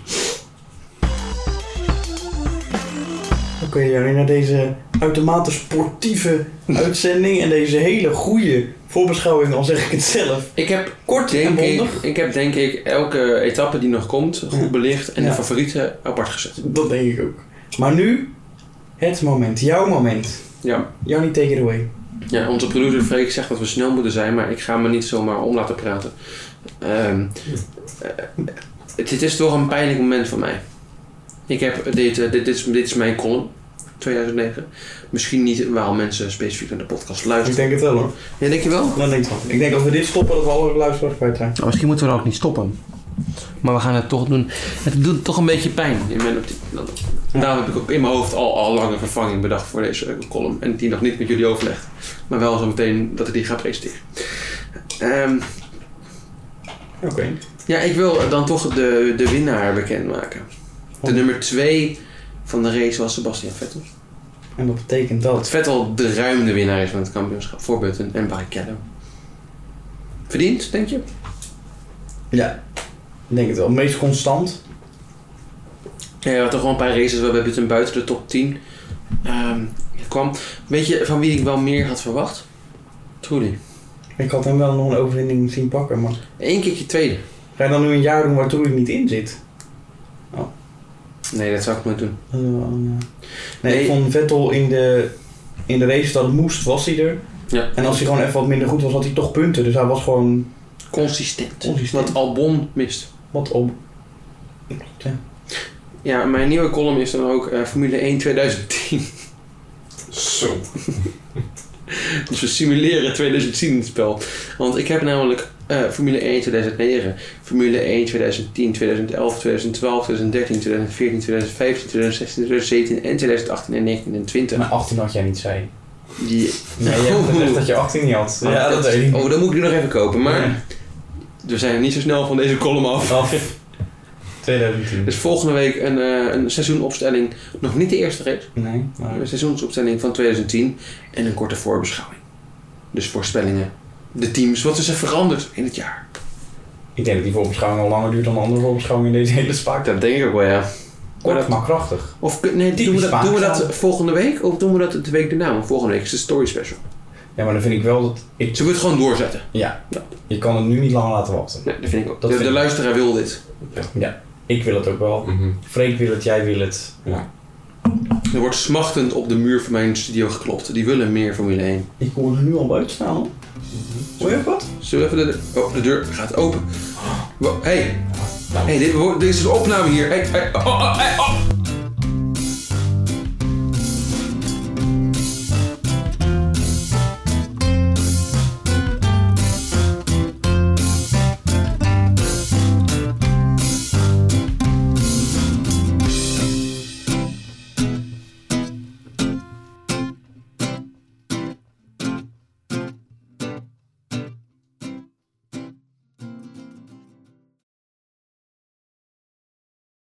Speaker 1: Oké, Jari, na deze uitermate sportieve uitzending en deze hele goede voorbeschouwing, al zeg ik het zelf.
Speaker 2: Ik heb
Speaker 1: Kort en
Speaker 2: Denk ik,
Speaker 1: bondig.
Speaker 2: ik heb denk ik elke etappe die nog komt goed belicht en
Speaker 1: Ja.
Speaker 2: de favorieten apart gezet.
Speaker 1: Dat denk ik ook. Maar nu, het moment. Jouw moment.
Speaker 2: Ja.
Speaker 1: Jannie, take it away.
Speaker 2: ja, onze producer Freek zegt dat we snel moeten zijn, maar ik ga me niet zomaar om laten praten. Ehm, eh, het, dit is toch een pijnlijk moment voor mij. Ik heb dit, eh, dit, dit, is, dit is mijn column 2009. Misschien niet waarom mensen specifiek naar de podcast
Speaker 1: Ik
Speaker 2: luisteren.
Speaker 1: denk het wel hoor.
Speaker 2: Ja, denk je wel?
Speaker 1: Dan denk ik wel. Ik denk als we dit stoppen, dat we alle luisteraars kwijt zijn.
Speaker 2: Nou, misschien moeten we dan ook niet stoppen. Maar we gaan het toch doen. Het doet toch een beetje pijn in mijn optiek. Dan- nou, Daarom heb ik ook in mijn hoofd al, al lang een vervanging bedacht voor deze eh, column. En die nog niet met jullie overlegd. Maar wel zo meteen dat ik die ga presenteren. Ehm,
Speaker 1: Oké.
Speaker 2: ja, ik wil dan toch de, de winnaar bekendmaken. De nummer 2 van de race was Sebastian Vettel.
Speaker 1: En dat betekent dat.
Speaker 2: Dat Vettel de ruimde winnaar is van het kampioenschap voor Button en Barrichello. Verdiend, denk je?
Speaker 1: Ja, ik denk het wel. Meest constant.
Speaker 2: Ja, we hadden toch wel een paar races waarbij Button buiten de top 10 ehm, kwam. Weet je van wie ik wel meer had verwacht? Trulli.
Speaker 1: Ik had hem wel nog een overwinning zien pakken, maar
Speaker 2: Eén keertje tweede.
Speaker 1: ga je dan nu een jaar doen waar Toerik niet in zit?
Speaker 2: Nee, dat zou ik nooit doen.
Speaker 1: Dat is wel een, eh, nee,
Speaker 2: Nee.
Speaker 1: ik vond Vettel in de, in de race dat het moest, was hij er.
Speaker 2: Ja.
Speaker 1: En als hij gewoon even wat minder goed was, had hij toch punten. Dus hij was gewoon
Speaker 2: Consistent.
Speaker 1: Consistent.
Speaker 2: Wat Albon mist.
Speaker 1: wat op.
Speaker 2: Ja, mijn nieuwe column is dan ook eh, Formule 1 2010.
Speaker 3: Zo.
Speaker 2: Dus we simuleren 2010 het spel. Want ik heb namelijk eh, Formule 1 2009, Formule 1 2010, 2011, 2012, 2013, 2014, 2015, 2016, 2017 en 2018 en 19 en 20.
Speaker 1: Maar 18 had jij niet, zei
Speaker 2: Die
Speaker 1: Nee, jij hebt gezegd dat je 18 niet had. Ja, dat weet ik.
Speaker 2: Oh, dan moet ik nu nog even kopen. Maar we zijn niet zo snel van deze column af.
Speaker 1: Af. 2010.
Speaker 2: Dus volgende week een, eh, een seizoenopstelling. Nog niet de eerste race.
Speaker 1: Nee, maar...
Speaker 2: maar Een seizoensopstelling van 2010. En een korte voorbeschouwing. Dus voorspellingen. De teams. Wat is er veranderd in het jaar?
Speaker 1: Ik denk dat die voorbeschouwing al langer duurt dan de andere voorbeschouwingen in deze hele spaak.
Speaker 2: Dat denk ik ook wel, ja.
Speaker 1: Kort, maar krachtig.
Speaker 2: Of kun- nee, doen we,
Speaker 1: Typisch
Speaker 2: dat, doen we dat
Speaker 1: Spaanzaal.
Speaker 2: volgende week? Of doen we dat de week daarna? Want volgende week is de story special.
Speaker 1: Ja, maar dan vind ik wel dat... Ik
Speaker 2: Zullen we het gewoon doorzetten?
Speaker 1: Ja,
Speaker 2: Ja.
Speaker 1: je kan het nu niet lang laten wachten.
Speaker 2: Nee, dat vind ik ook.
Speaker 1: Dat
Speaker 2: de,
Speaker 1: vind
Speaker 2: de
Speaker 1: ik.
Speaker 2: luisteraar wil dit.
Speaker 1: Ik wil het ook wel.
Speaker 3: Mhm.
Speaker 1: Freek wil het, jij wil het.
Speaker 2: Er wordt smachtend op de muur van mijn studio geklopt. Die willen meer Formule 1.
Speaker 1: Ik hoor er nu al buiten staan hoor. Hoor je ook wat?
Speaker 2: Zullen we even de deur... Oh, de deur gaat open. Hé. Hey. Hé, hey, dit, wordt- dit is een opname hier. Hey, hey. Oh, oh, hey, oh.